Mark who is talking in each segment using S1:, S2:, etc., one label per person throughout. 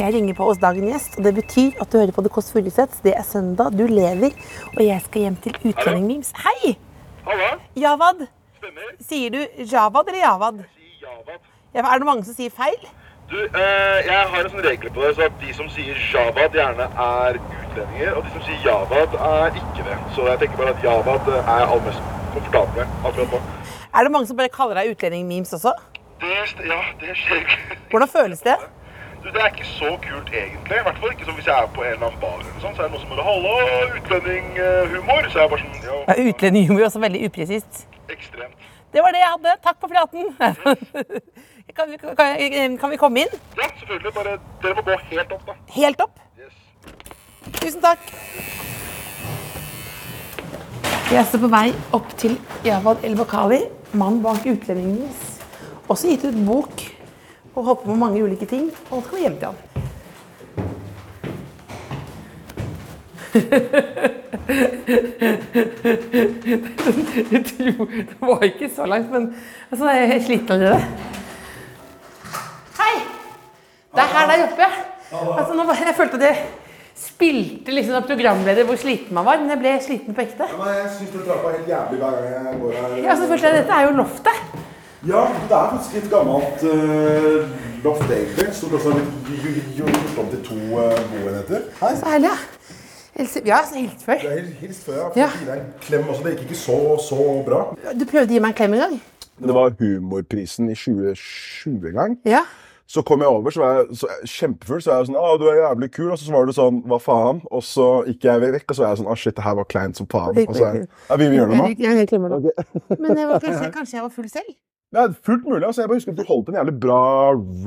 S1: Jeg ringer på hos dagen gjest, og det betyr at du hører på The Kåss Furuseths. Det er søndag, du lever, og jeg skal hjem til utlendingen min. Hei!
S2: Halla,
S1: Javad.
S2: stemmer.
S1: Sier du Javad eller Javad?
S2: I Javad.
S1: Ja, Er det mange som sier feil?
S2: Du, eh, jeg har en sånn regel på det, så at de som sier Javad gjerne er utlendinger, og de som sier Javad er ikke det. Så jeg tenker bare at Javad eh, er aller mest komfortabel med akkurat nå.
S1: Er det mange som bare kaller deg utlending-memes også?
S2: Det, st- ja, det skjer ikke.
S1: Hvordan føles det?
S2: Du, det er ikke så kult egentlig, i hvert fall ikke som hvis jeg er på en eller annen bar eller sånn, så er det noen som bare, hallo, utlendinghumor, så er jeg bare sånn,
S1: Ja,
S2: ja,
S1: Utlendinghumor er også veldig upresist.
S2: ekstremt.
S1: Det var det jeg hadde. Takk for praten. Kan, vi- kan, kan vi komme inn?
S2: Ja, selvfølgelig, bare, dere må gå helt opp da.
S1: Helt opp.
S2: Yes.
S1: Tusen takk. Jeg står altså på vei opp til Javad El-Bakali, mannen bak utlendingens. Også gitt ut bok og holdt på med mange ulike ting. Og nå skal vi hjem til han. Jeg tror Det var ikke så langt, men altså, jeg er helt sliten allerede. Hei! Det er her der oppe. Altså, nå, bare- jeg følte at jeg spilte liksom som programleder hvor sliten man var, men jeg ble sliten på ekte.
S3: Nei, jeg syns den trappa er helt jævlig hver gang jeg går her.
S1: Ja, altså, følte jeg, Dette er jo loftet.
S3: Ja, det er faktisk et gammelt uh, loft, egentlig. Stort også har blitt ju- ju- gjort om til to eh, boenheter. Hei.
S1: Så herlig, ja. Helse, ja, så helt før.
S3: Jeg hil- hilste før. Jeg
S1: Ja.
S3: fikk gi deg en klem også. Det gikk ikke så, så bra.
S1: Du prøvde å gi meg en klem en gang.
S3: Det var humorprisen i 2020-gang.
S1: Ja.
S3: Så kom jeg over, så var jeg så jeg- kjempefull, så jeg var sånn Å, du er jævlig kul. Og så var du sånn Hva faen? Og så gikk jeg vekk, og så var jeg sånn Å, shit, det her var kleint som faen. Og så er jeg Ja, vi vil gjøre noe nå.
S1: Jeg klemmer nå. Men jeg var, kanskje, kanskje jeg var full selv?
S3: Det er fullt mulig. altså. Jeg bare husker at du holdt en jævlig bra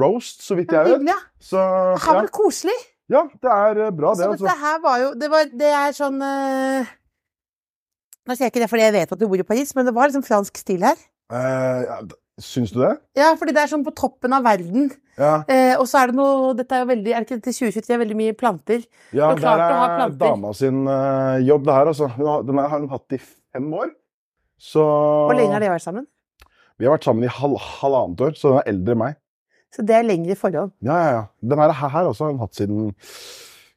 S3: roast, så vidt jeg vet.
S1: Hyggelig, ja.
S3: Så
S1: Det
S3: ja,
S1: var koselig.
S3: ja det er eh, bra, det.
S1: Så
S3: altså.
S1: dette her var jo Det, var, det er sånn eh, Nå sier jeg ikke det fordi jeg vet at du bor i Paris, men det var liksom fransk stil her.
S3: Eh, ja, d- syns du det?
S1: Ja, fordi det er sånn på toppen av verden.
S3: Ja.
S1: Eh, og så er det noe Dette er jo veldig Er det ikke til 2023 veldig mye planter?
S3: ja
S1: Men klart
S3: der
S1: å ha
S3: er
S1: planter.
S3: dama sin eh, jobb, det her. altså. Hun har- Den har hun hatt i fem år. Så
S1: Hvor lenge har dere vært sammen?
S3: Vi har vært sammen i hal halvannet år, så den er eldre enn meg.
S1: Så det er lengre forhold.
S3: Ja, ja, ja. Den her, her også har hun hatt siden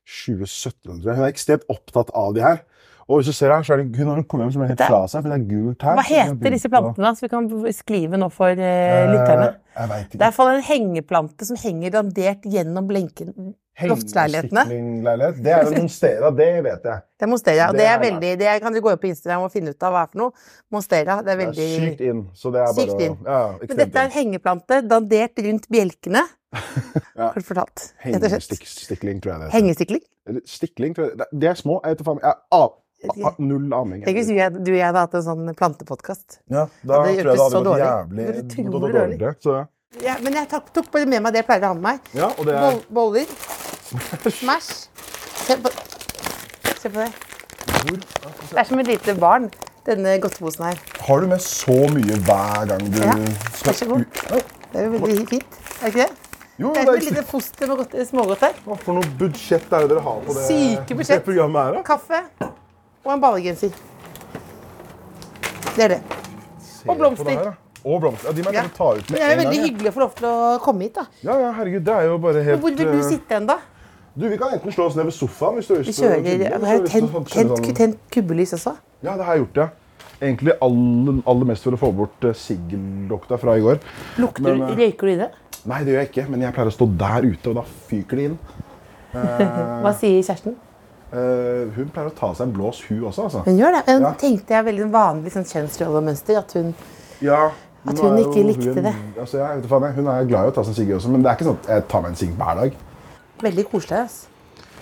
S3: 2017. tror jeg. Hun er ekstremt opptatt av de her. Og hvis du ser her, så er det, hun har kommet hjem som er helt
S1: Det-
S3: fra seg, for det er gult her.
S1: Hva
S3: så hun har
S1: heter
S3: begynt
S1: disse
S3: å-
S1: plantene, da? Så vi kan skrive nå for eh, lytterne.
S3: Eh,
S1: Det
S3: Jeg vet
S1: er i
S3: ikke.
S1: hvert fall en hengeplante som henger dandert gjennom lenken. loftsleilighetene.
S3: Hengestiklingleilighet. Det er jo noen steder, det vet jeg.
S1: Det er Monstera. Og
S3: Det
S1: det er
S3: er
S1: veldig, det er, kan dere gå inn på Instagram og finne ut av hva det er for noe. Monstera, det er
S3: Det er
S1: veldig
S3: sykt inn. Så det er bare
S1: Sykt inn.
S3: Ja,
S1: Men dette er en hengeplante dandert rundt bjelkene.
S3: Ja.
S1: Kort fortalt. Rett og slett.
S3: Hengestikling, tror jeg det heter.
S1: Hengestikling.
S3: Eller Stikling, tror jeg det De er små. Jeg vet da faen. Jeg har a- a- null aning.
S1: Tenk hvis vi hadde- du og jeg hadde hatt en sånn plantepodkast.
S3: Ja, da
S1: hadde
S3: tror
S1: gjort
S3: jeg det
S1: det så
S3: hadde gått
S1: dårlig.
S3: jævlig
S1: Det hadde
S3: dårlig.
S1: vært utrolig
S3: dårlig. Så,
S1: Ja, men jeg tok, tok bare med meg det jeg pleier å ha med meg.
S3: ja, og det er
S1: Boll- boller. Smash. Se på, se på det. Det er som et lite barn, denne godteposen her.
S3: Har du med så mye hver gang du
S1: Ja, vær
S3: skal
S1: så god.
S3: ut? Oi,
S1: Det er jo veldig fint, er det ikke det?
S3: Jo,
S1: Det er
S3: det
S1: som
S3: er
S1: et
S3: ikke
S1: lite foster med godt, smågodt her.
S3: Hva for noe budsjett er det dere har på det,
S1: Syke budsjett.
S3: det programmet her, da?
S1: Kaffe og en ballegenser. Det er det.
S3: Se på det
S1: blomster.
S3: her, da. Og blomster. Ja, de må jeg
S1: Ja.
S3: ja. ta
S1: Men
S3: ut med
S1: det er jo
S3: en
S1: veldig
S3: gang. ja.
S1: hyggelig å få lov til å komme hit, da.
S3: Ja, ja, herregud, det er jo bare helt
S1: Men hvor vil du
S3: eh,
S1: sitte hen, da?
S3: Du, Vi kan enten slå oss ned ved sofaen hvis du har
S1: Vi
S3: lyst
S1: kjører
S3: kjøre,
S1: det
S3: hvis du har
S1: er
S3: lyst til
S1: Tent,
S3: å kjøre
S1: tent,
S3: sånn-
S1: tent kubbelys også.
S3: Ja, det har jeg gjort, ja. Egentlig aller, aller mest for å få bort eh, sigeldokta fra i går.
S1: Lukter du,
S3: Men, eh,
S1: Røyker du i det?
S3: Nei, det gjør jeg ikke, men jeg pleier å stå der ute, og da fyker det inn.
S1: Hva sier kjæresten?
S3: Eh, hun pleier å ta seg en blås, hun også, altså.
S1: Hun gjør det. Hun
S3: Ja.
S1: tenkte jeg veldig sånn vanlig sånn kjønnsrollemønster. At hun
S3: Ja, nå
S1: At hun
S3: er jo
S1: ikke likte
S3: hun,
S1: det.
S3: Altså, jeg, vet du faen, jeg, hun er glad i å ta seg en sigg også, men det er ikke sånn at jeg tar meg en sigg hver dag.
S1: Veldig koselig. Altså.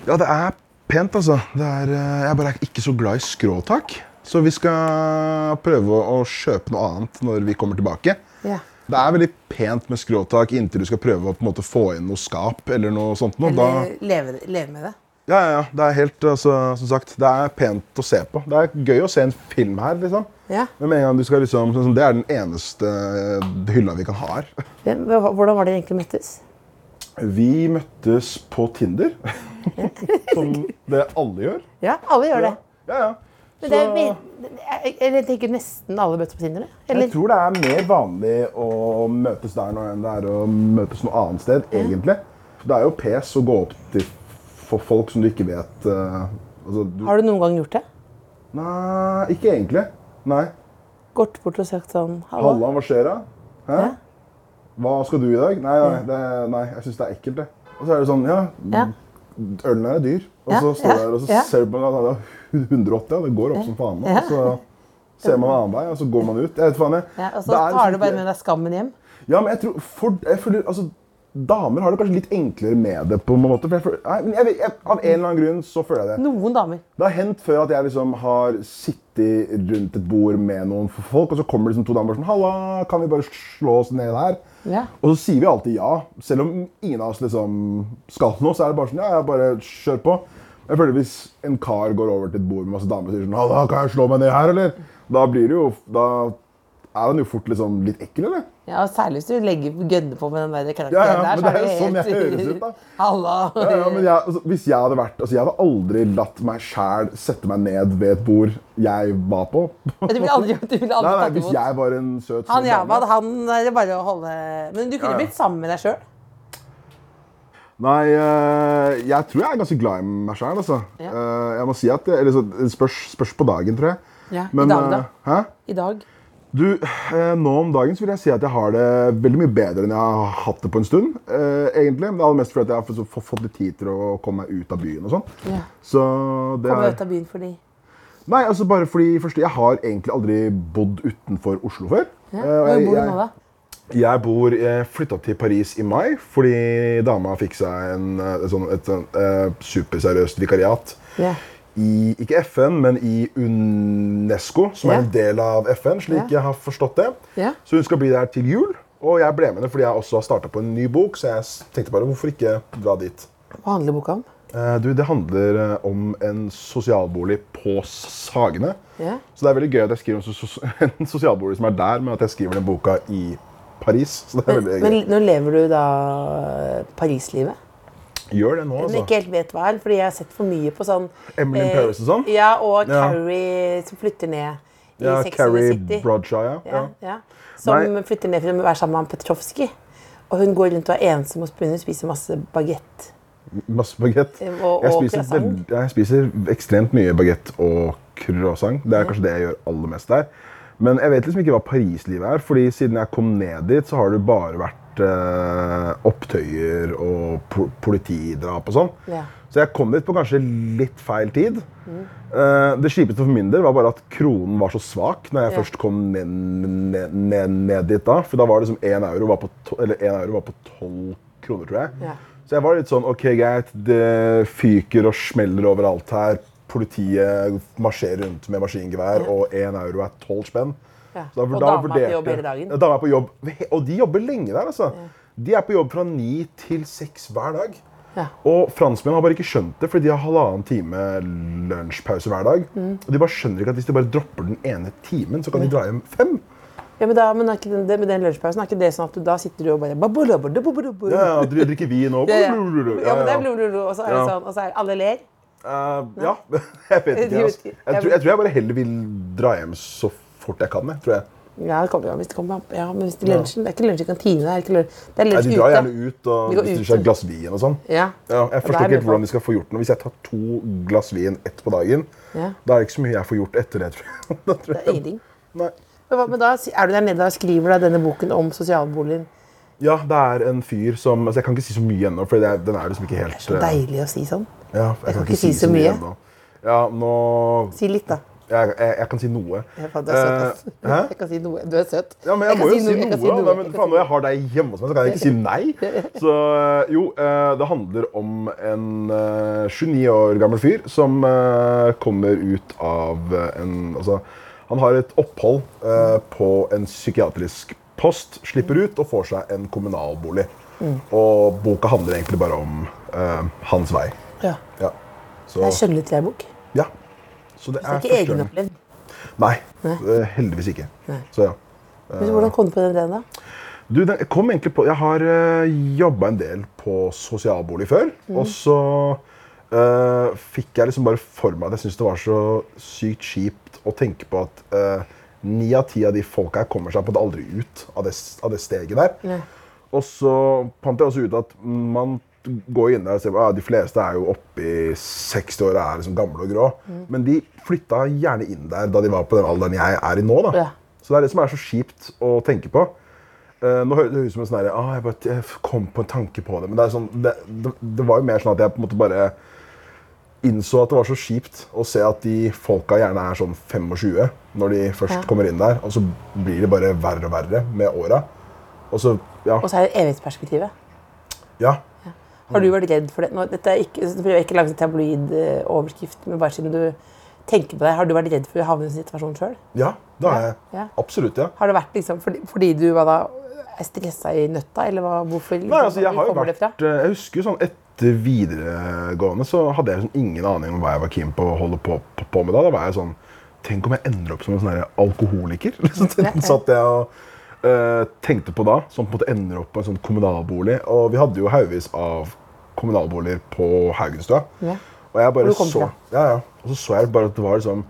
S3: Ja, det er pent, altså. Det er, eh, jeg bare er ikke så glad i skråtak. Så vi skal prøve å å kjøpe noe annet når vi kommer tilbake.
S1: Ja.
S3: Det er veldig pent med skråtak inntil du skal prøve å på en måte få inn noe skap eller noe sånt. Noe.
S1: Eller leve, leve med det.
S3: Da, Ja, ja, ja. Det er helt, altså, som sagt, det er pent å se på. Det er gøy å se en film her, liksom.
S1: Ja.
S3: Men med en gang du skal liksom, sånn som- Det er den eneste eh, hylla vi kan ha her.
S1: Hvem, hvordan var dere egentlig møttes?
S3: Vi møttes på Tinder. som det alle gjør.
S1: Ja, alle gjør det.
S3: Ja, ja.
S1: Men det er,
S3: Så-
S1: vel- jeg, jeg, jeg tenker nesten alle møtes på Tinder. det. Eller?
S3: Jeg tror det er mer vanlig å møtes der nå enn det er å møtes noe annet sted, egentlig. Det er jo pes å gå opp til for folk som du ikke vet eh, altså, du,
S1: Har du noen gang gjort det?
S3: Nei, ikke egentlig. Nei.
S1: Gått bort og sagt sånn Halla.
S3: Halla, hva skjer da? Hæ?
S1: Ja.
S3: Hva skal du i dag? Nei, nei, det, nei jeg syns det er ekkelt, det. Og så er det sånn, ja,
S1: Ja.
S3: ølen er dyr. Og
S1: Ja,
S3: så står
S1: ja,
S3: du der og så
S1: ja.
S3: ser du på den, og det er 180, og det går opp som faen. nå.
S1: Ja.
S3: Og så ser man en annen vei, og så går man ut. Jeg vet faen, jeg.
S1: Ja, og så
S3: Det
S1: tar
S3: er liksom
S1: du bare
S3: ikke-
S1: med deg skammen hjem.
S3: Ja, men jeg tror for, jeg føler, altså, Damer har det kanskje litt enklere med det. på en måte. For jeg føler, nei, men jeg, vet- jeg, av en eller annen grunn så føler jeg det.
S1: Noen damer.
S3: Det har hendt før at jeg liksom har sittet rundt et bord med noen folk, og så kommer liksom to damer sånn 'Halla, kan vi bare slå oss ned her?'
S1: Ja.
S3: Og så sier vi alltid ja. Selv om ingen av oss liksom skal noe, så er det bare sånn 'Ja, ja, bare kjør på'. Jeg føler Hvis en kar går over til et bord med masse damer og sier sånn 'Halla, kan jeg slå meg ned her, eller?' Da blir det jo Da er han jo fort liksom litt ekkel, eller?
S1: Ja, og Særlig hvis du legger gønner på med den der karakteren
S3: Ja,
S1: der.
S3: ja, men
S1: så
S3: det er jo
S1: det
S3: sånn
S1: helt-
S3: jeg høres ut, da.
S1: Halla.
S3: Ja, ja, men jeg, altså, hvis jeg hadde vært altså, Jeg hadde aldri latt meg sjæl sette meg ned ved et bord jeg var på. nei,
S1: Du ville aldri, du ville aldri
S3: nei,
S1: tatt
S3: Hvis
S1: imot.
S3: jeg var en søt
S1: Han
S3: snill
S1: Javad,
S3: dame.
S1: han er det bare å holde Men du kunne
S3: Ja, ja.
S1: blitt sammen med deg sjøl.
S3: Nei, eh, jeg tror jeg er ganske glad i meg sjæl, altså.
S1: Ja.
S3: Eh, jeg må si at jeg- eller, så, Det spørs, spørs på dagen, tror jeg.
S1: Ja, i dag, da.
S3: eh, hæ?
S1: I dag.
S3: Du, eh, nå om dagen så vil jeg si at jeg har det veldig mye bedre enn jeg har hatt det på en stund. eh, egentlig. Men det er aller mest fordi at jeg har fått- fått fått litt tid til å komme meg ut av byen og sånn.
S1: Ja.
S3: Så det
S1: Komme
S3: er-
S1: ut av byen fordi
S3: Nei, altså bare fordi først, Jeg har egentlig aldri bodd utenfor Oslo før.
S1: ja.
S3: Eh, og
S1: Hvor
S3: jeg-
S1: bor du
S3: jeg-
S1: nå, da?
S3: Jeg bor, jeg flytta til Paris i mai fordi dama fikk seg en, eh, et, sånn, et, sånn, eh, superseriøst vikariat.
S1: Ja.
S3: I, ikke FN, men i UNESCO, som
S1: Ja.
S3: er en del av FN, slik
S1: Ja.
S3: jeg har forstått det.
S1: Ja.
S3: Så hun skal bli der til jul, og jeg ble med henne fordi jeg også har starta på en ny bok. Så jeg s- tenkte bare, hvorfor ikke dra dit?
S1: Hva handler boka om?
S3: Eh, Du, det handler eh, om en sosialbolig på S- Sagene.
S1: Ja.
S3: Så det er veldig gøy at jeg skriver om sos- sos- en sosialbolig som er der, men at jeg skriver den boka i Paris. Så det er
S1: Men,
S3: veldig
S1: men
S3: gøy.
S1: nå lever du da Paris-livet?
S3: Gjør det
S1: Som
S3: nå,
S1: jeg
S3: altså.
S1: ikke helt vet hva er, fordi jeg har sett for mye på sånn
S3: Emily in Paris og sånn?
S1: Ja, og
S3: Ja.
S1: Carrie som flytter ned i
S3: Ja,
S1: Sex and the
S3: Carrie
S1: City.
S3: Bradshaw, ja.
S1: ja,
S3: ja.
S1: ja. Som
S3: Nei.
S1: flytter ned for å være sammen med han Petrovskij. Og hun går rundt og er ensom og spinner og spiser masse bagett.
S3: Masse bagett.
S1: Og- og
S3: Jeg spiser,
S1: croissant.
S3: veld- jeg spiser ekstremt mye bagett og croissant. Det er kanskje det jeg gjør aller mest der. Men jeg vet liksom ikke hva Paris-livet er, fordi siden jeg kom ned dit, så har det bare vært eh, opptøyer og po politidrap og sånn.
S1: Ja. Mm.
S3: Så jeg kom dit på kanskje litt feil tid. Eh, det kjipeste for min del var bare at kronen var så svak når jeg
S1: Ja.
S3: først kom ned, ned, ned, ned dit da. For da var det liksom én euro var på to- eller en euro var på tolv kroner, tror jeg.
S1: Ja.
S3: Så jeg var litt sånn OK, greit. Det fyker og smeller overalt her. Politiet marsjerer rundt med maskingevær, og én euro er tolv spenn.
S1: Ja.
S3: Så da-
S1: Og
S3: da
S1: dama er på
S3: vurderte-
S1: jobb hele dagen.
S3: Ja, dama er på jobb. Og de jobber lenge der, altså. De er på jobb fra ni til seks hver dag.
S1: Ja.
S3: Og franskmenn har bare ikke skjønt det, fordi de har halvannen time lunsjpause hver dag.
S1: Mm.
S3: Og de bare skjønner ikke at hvis de bare dropper den ene timen, så kan de dra hjem fem.
S1: Ja, men da, men er ikke den, det- med den lunsjpausen, er ikke det sånn at du da sitter du og bare babulabulabulabul.
S3: Ja, ja, dri- drikker vin og
S1: Ja, ja.
S3: Ja,
S1: Ja, men det
S3: ja.
S1: er blululu, og så er det
S3: Ja.
S1: sånn, og så er alle ler.
S3: Eh, ja, jeg vet ikke. Altså. Jeg, tror, jeg tror jeg bare heller vil dra hjem så fort jeg kan. Jeg, tror jeg.
S1: Ja, det kommer, jo an, hvis det kommer, an- ja, men hvis det er lunsjen, det er ikke lunsj i kantina, det er ikke lunsj, det er
S3: Nei,
S1: lunsj
S3: de
S1: ute.
S3: drar gjerne ut og
S1: De går
S3: bestiller
S1: ut,
S3: seg
S1: ja.
S3: et glass vin og sånn.
S1: Ja.
S3: Ja, jeg
S1: det er
S3: forstår ikke helt
S1: mye
S3: hvordan de skal få gjort noe. Hvis jeg tar to glass vin, ett på dagen,
S1: Ja.
S3: da er det ikke så mye jeg får gjort etter det. tror jeg. Da tror
S1: Det
S3: jeg-
S1: er ingenting.
S3: Nei.
S1: Men, hva- men da er du der nede og skriver da denne boken om sosialboligen.
S3: Ja, det er en fyr som altså Jeg kan ikke si så mye ennå, for det er, den er liksom ikke helt
S1: Så
S3: eh,
S1: deilig å si sånn.
S3: Ja, jeg,
S1: kan ikke si så mye.
S3: ennå. Ja, nå
S1: Si litt da.
S3: jeg, jeg, jeg kan si noe.
S1: Ja, faen, du er søt,
S3: Eh, hæ?
S1: ass. Jeg kan si noe. Du er søt.
S3: Ja, men jeg, må jo si noe.
S1: jeg kan
S3: da, men
S1: jeg kan
S3: faen,
S1: si
S3: Når jeg har deg hjemme hos meg, så kan jeg ikke si nei. Så eh, jo, eh, det handler om en eh, 29 år gammel fyr som eh, kommer ut av eh, en Altså, han har et opphold eh, på en psykiatrisk post, slipper ut og får seg en
S1: Mm.
S3: kommunalbolig. Og boka handler egentlig bare om eh, hans vei.
S1: Ja.
S3: Ja. Så,
S1: Det er skjønnlitterær-bok. Det
S3: ja. så det er
S1: er ikke
S3: første gangen.
S1: egenopplevd.
S3: Nei,
S1: Nei.
S3: eh, heldigvis ikke.
S1: Nei.
S3: Så ja.
S1: Men hvordan kom du på den ideen, da?
S3: Du, den kom egentlig på Jeg har uh, jobba en del på sosialbolig før. Og så eh, fikk jeg liksom bare for meg at jeg syntes det var så sykt kjipt å tenke på at eh, ni av ti av de folka her kommer seg på det aldri ut av det, s- av det steget der. Og så fant jeg også ut at man går inn der og ser på ja, de fleste er jo oppi 60 år og er liksom gamle og grå. Men de flytta gjerne inn der da de var på den alderen jeg er i nå. da.
S1: Ja.
S3: Så det er det som er så kjipt å tenke på. Eh, nå høres det ut som en sånn her, ah, jeg, bare, jeg kom på en tanke på det. Men det, er sånn, det, det, det var jo mer sånn at jeg på en måte bare innså at det var så kjipt å se at de folka gjerne er sånn 25 når de først kommer inn der. Og så blir det bare verre og verre med åra. Og så, ja.
S1: Og så er det evighetsperspektivet.
S3: ja.
S1: Har
S3: Mm.
S1: du vært redd for det? Nå, dette er ikke, det blir jo ikke laget en tabloid eh, overskrift, men bare siden du tenker på det, har du vært redd for å havne i en situasjon sjøl?
S3: Ja, det har jeg.
S1: Ja.
S3: Absolutt, ja.
S1: Har det vært liksom, fordi, fordi du var da er stressa i nøtta, eller hva, hvorfor
S3: Nei, altså, jeg har jo
S1: kommer det fra?
S3: vært, eh, jeg husker jo sånn etter videregående så hadde jeg sånn ingen aning om hva jeg var keen på å holde på, på, på med da. Da var jeg sånn Tenk om jeg ender opp som en sånn her alkoholiker? Liksom, den satt jeg og eh, tenkte på da. Som på en måte ender opp på en sånn kommunalbolig. Og vi hadde jo haugevis av kommunalboliger på Haugenstua.
S1: Ja.
S3: Og jeg bare
S1: Hvor du kom
S3: så
S1: fra.
S3: ja, ja. Og så så jeg bare at det var liksom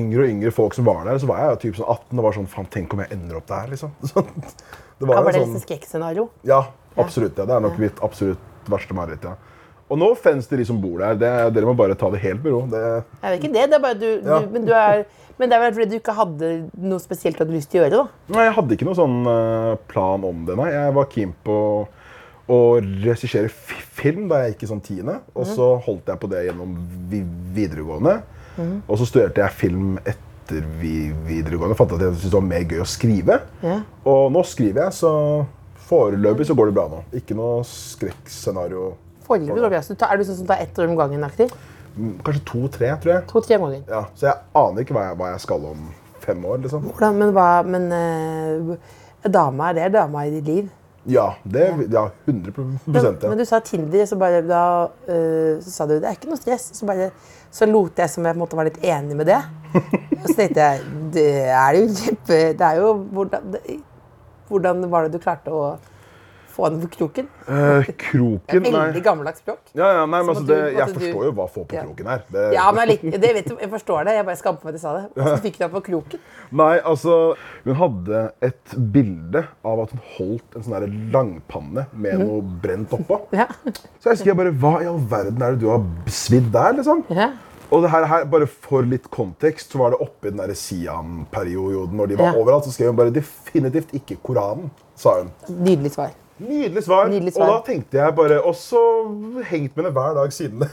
S3: yngre og yngre folk som var der. Så var jeg jo typ sånn 18 og var sånn Faen, tenk om jeg ender opp der, liksom. Så,
S1: Ja,
S3: det var
S1: var
S3: jo
S1: det
S3: sånn
S1: liksom skrekkscenario?
S3: ja, absolutt. Ja. Det er nok mitt absolutt verste mareritt. Ja. Og no offense til de som bor der. Det, dere må bare ta det helt med ro. Det,
S1: Nei, det er ikke det. det er bare du,
S3: Ja.
S1: du, men, du er, men det er vel fordi du ikke hadde noe spesielt du hadde lyst til å gjøre, da.
S3: nei, jeg hadde ikke noen sånn eh, plan om det, nei. Jeg var keen på å regissere fi- film da jeg gikk i sånn tiende. Og så holdt jeg på det gjennom vi videregående. Og så studerte jeg film etter vi videregående. Fant at jeg syntes det var mer gøy å skrive. Og nå skriver jeg, så foreløpig så går det bra nå. Ikke noe skrekkscenario.
S1: Foreløpig går det bra. Så du tar- Er du sånn som tar ett år om gangen aktiv?
S3: Mm, Kanskje to-tre, tror jeg.
S1: To-tre om gangen.
S3: Ja, så jeg aner ikke hva jeg, hva jeg skal om fem år, liksom.
S1: Hvordan, men hva, men eh, dama er det dama i ditt liv?
S3: Ja, det ja, 100
S1: Men
S3: ja.
S1: du sa Tinder, så bare da eh, så sa du det er ikke noe stress. Så, bare, så lot jeg som jeg på en måte var litt enig med det. Og så tenkte jeg det er jo kjempe Det er jo hvordan, det, hvordan var det du klarte å få den på kroken?
S3: Eh, kroken,
S1: Veldig
S3: nei.
S1: gammeldags språk.
S3: Ja, ja, nei, men
S1: Så
S3: altså,
S1: måtte
S3: det,
S1: du-
S3: jeg
S1: måtte du-
S3: forstår jo hva få på
S1: Ja.
S3: kroken er. Det,
S1: Ja, men jeg, lik, det vet, du, jeg forstår det. Jeg bare skammer meg at jeg sa det. Så fikk du den på kroken.
S3: Nei, altså Hun hadde et bilde av at hun holdt en sånn der langpanne med noe brent oppå.
S1: Mhm. Ja.
S3: Så jeg husker jeg bare Hva i all verden er det du har svidd der, liksom?
S1: Ja.
S3: Og det her, her, bare for litt kontekst, så var det oppe i den der Sian-perioden når de
S1: Ja.
S3: var overalt, så skrev hun bare definitivt ikke Koranen, sa hun.
S1: Nydelig svar.
S3: Nydelig svar.
S1: Nydelig svar.
S3: Og da tenkte jeg bare Og så hengt med det hver dag siden det.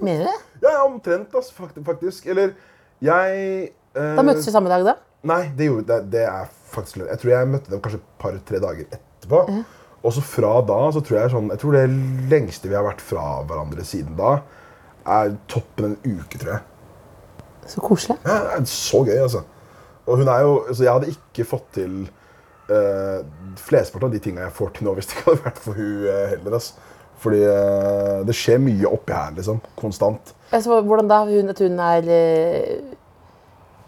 S1: Mener du det?
S3: ja, ja, omtrent, altså, fakt- faktisk. Eller jeg eh,
S1: Da møttes vi samme dag, da.
S3: Nei, det, gjorde, det, det er faktisk løgn. Jeg tror jeg møtte dem kanskje et par-tre dager etterpå. Og så fra da så tror jeg sånn Jeg tror det lengste vi har vært fra hverandre siden da, er toppen en uke, tror jeg.
S1: Så koselig.
S3: Ja, det er så gøy, altså. Og hun er jo, altså jeg hadde ikke fått til uh, flesteparten av de tinga jeg får til nå, hvis det ikke hadde vært for hun eh, heller. Altså. Fordi eh, det skjer mye oppi her, liksom. Konstant.
S1: Altså, hvordan da? Hun, at hun er eh,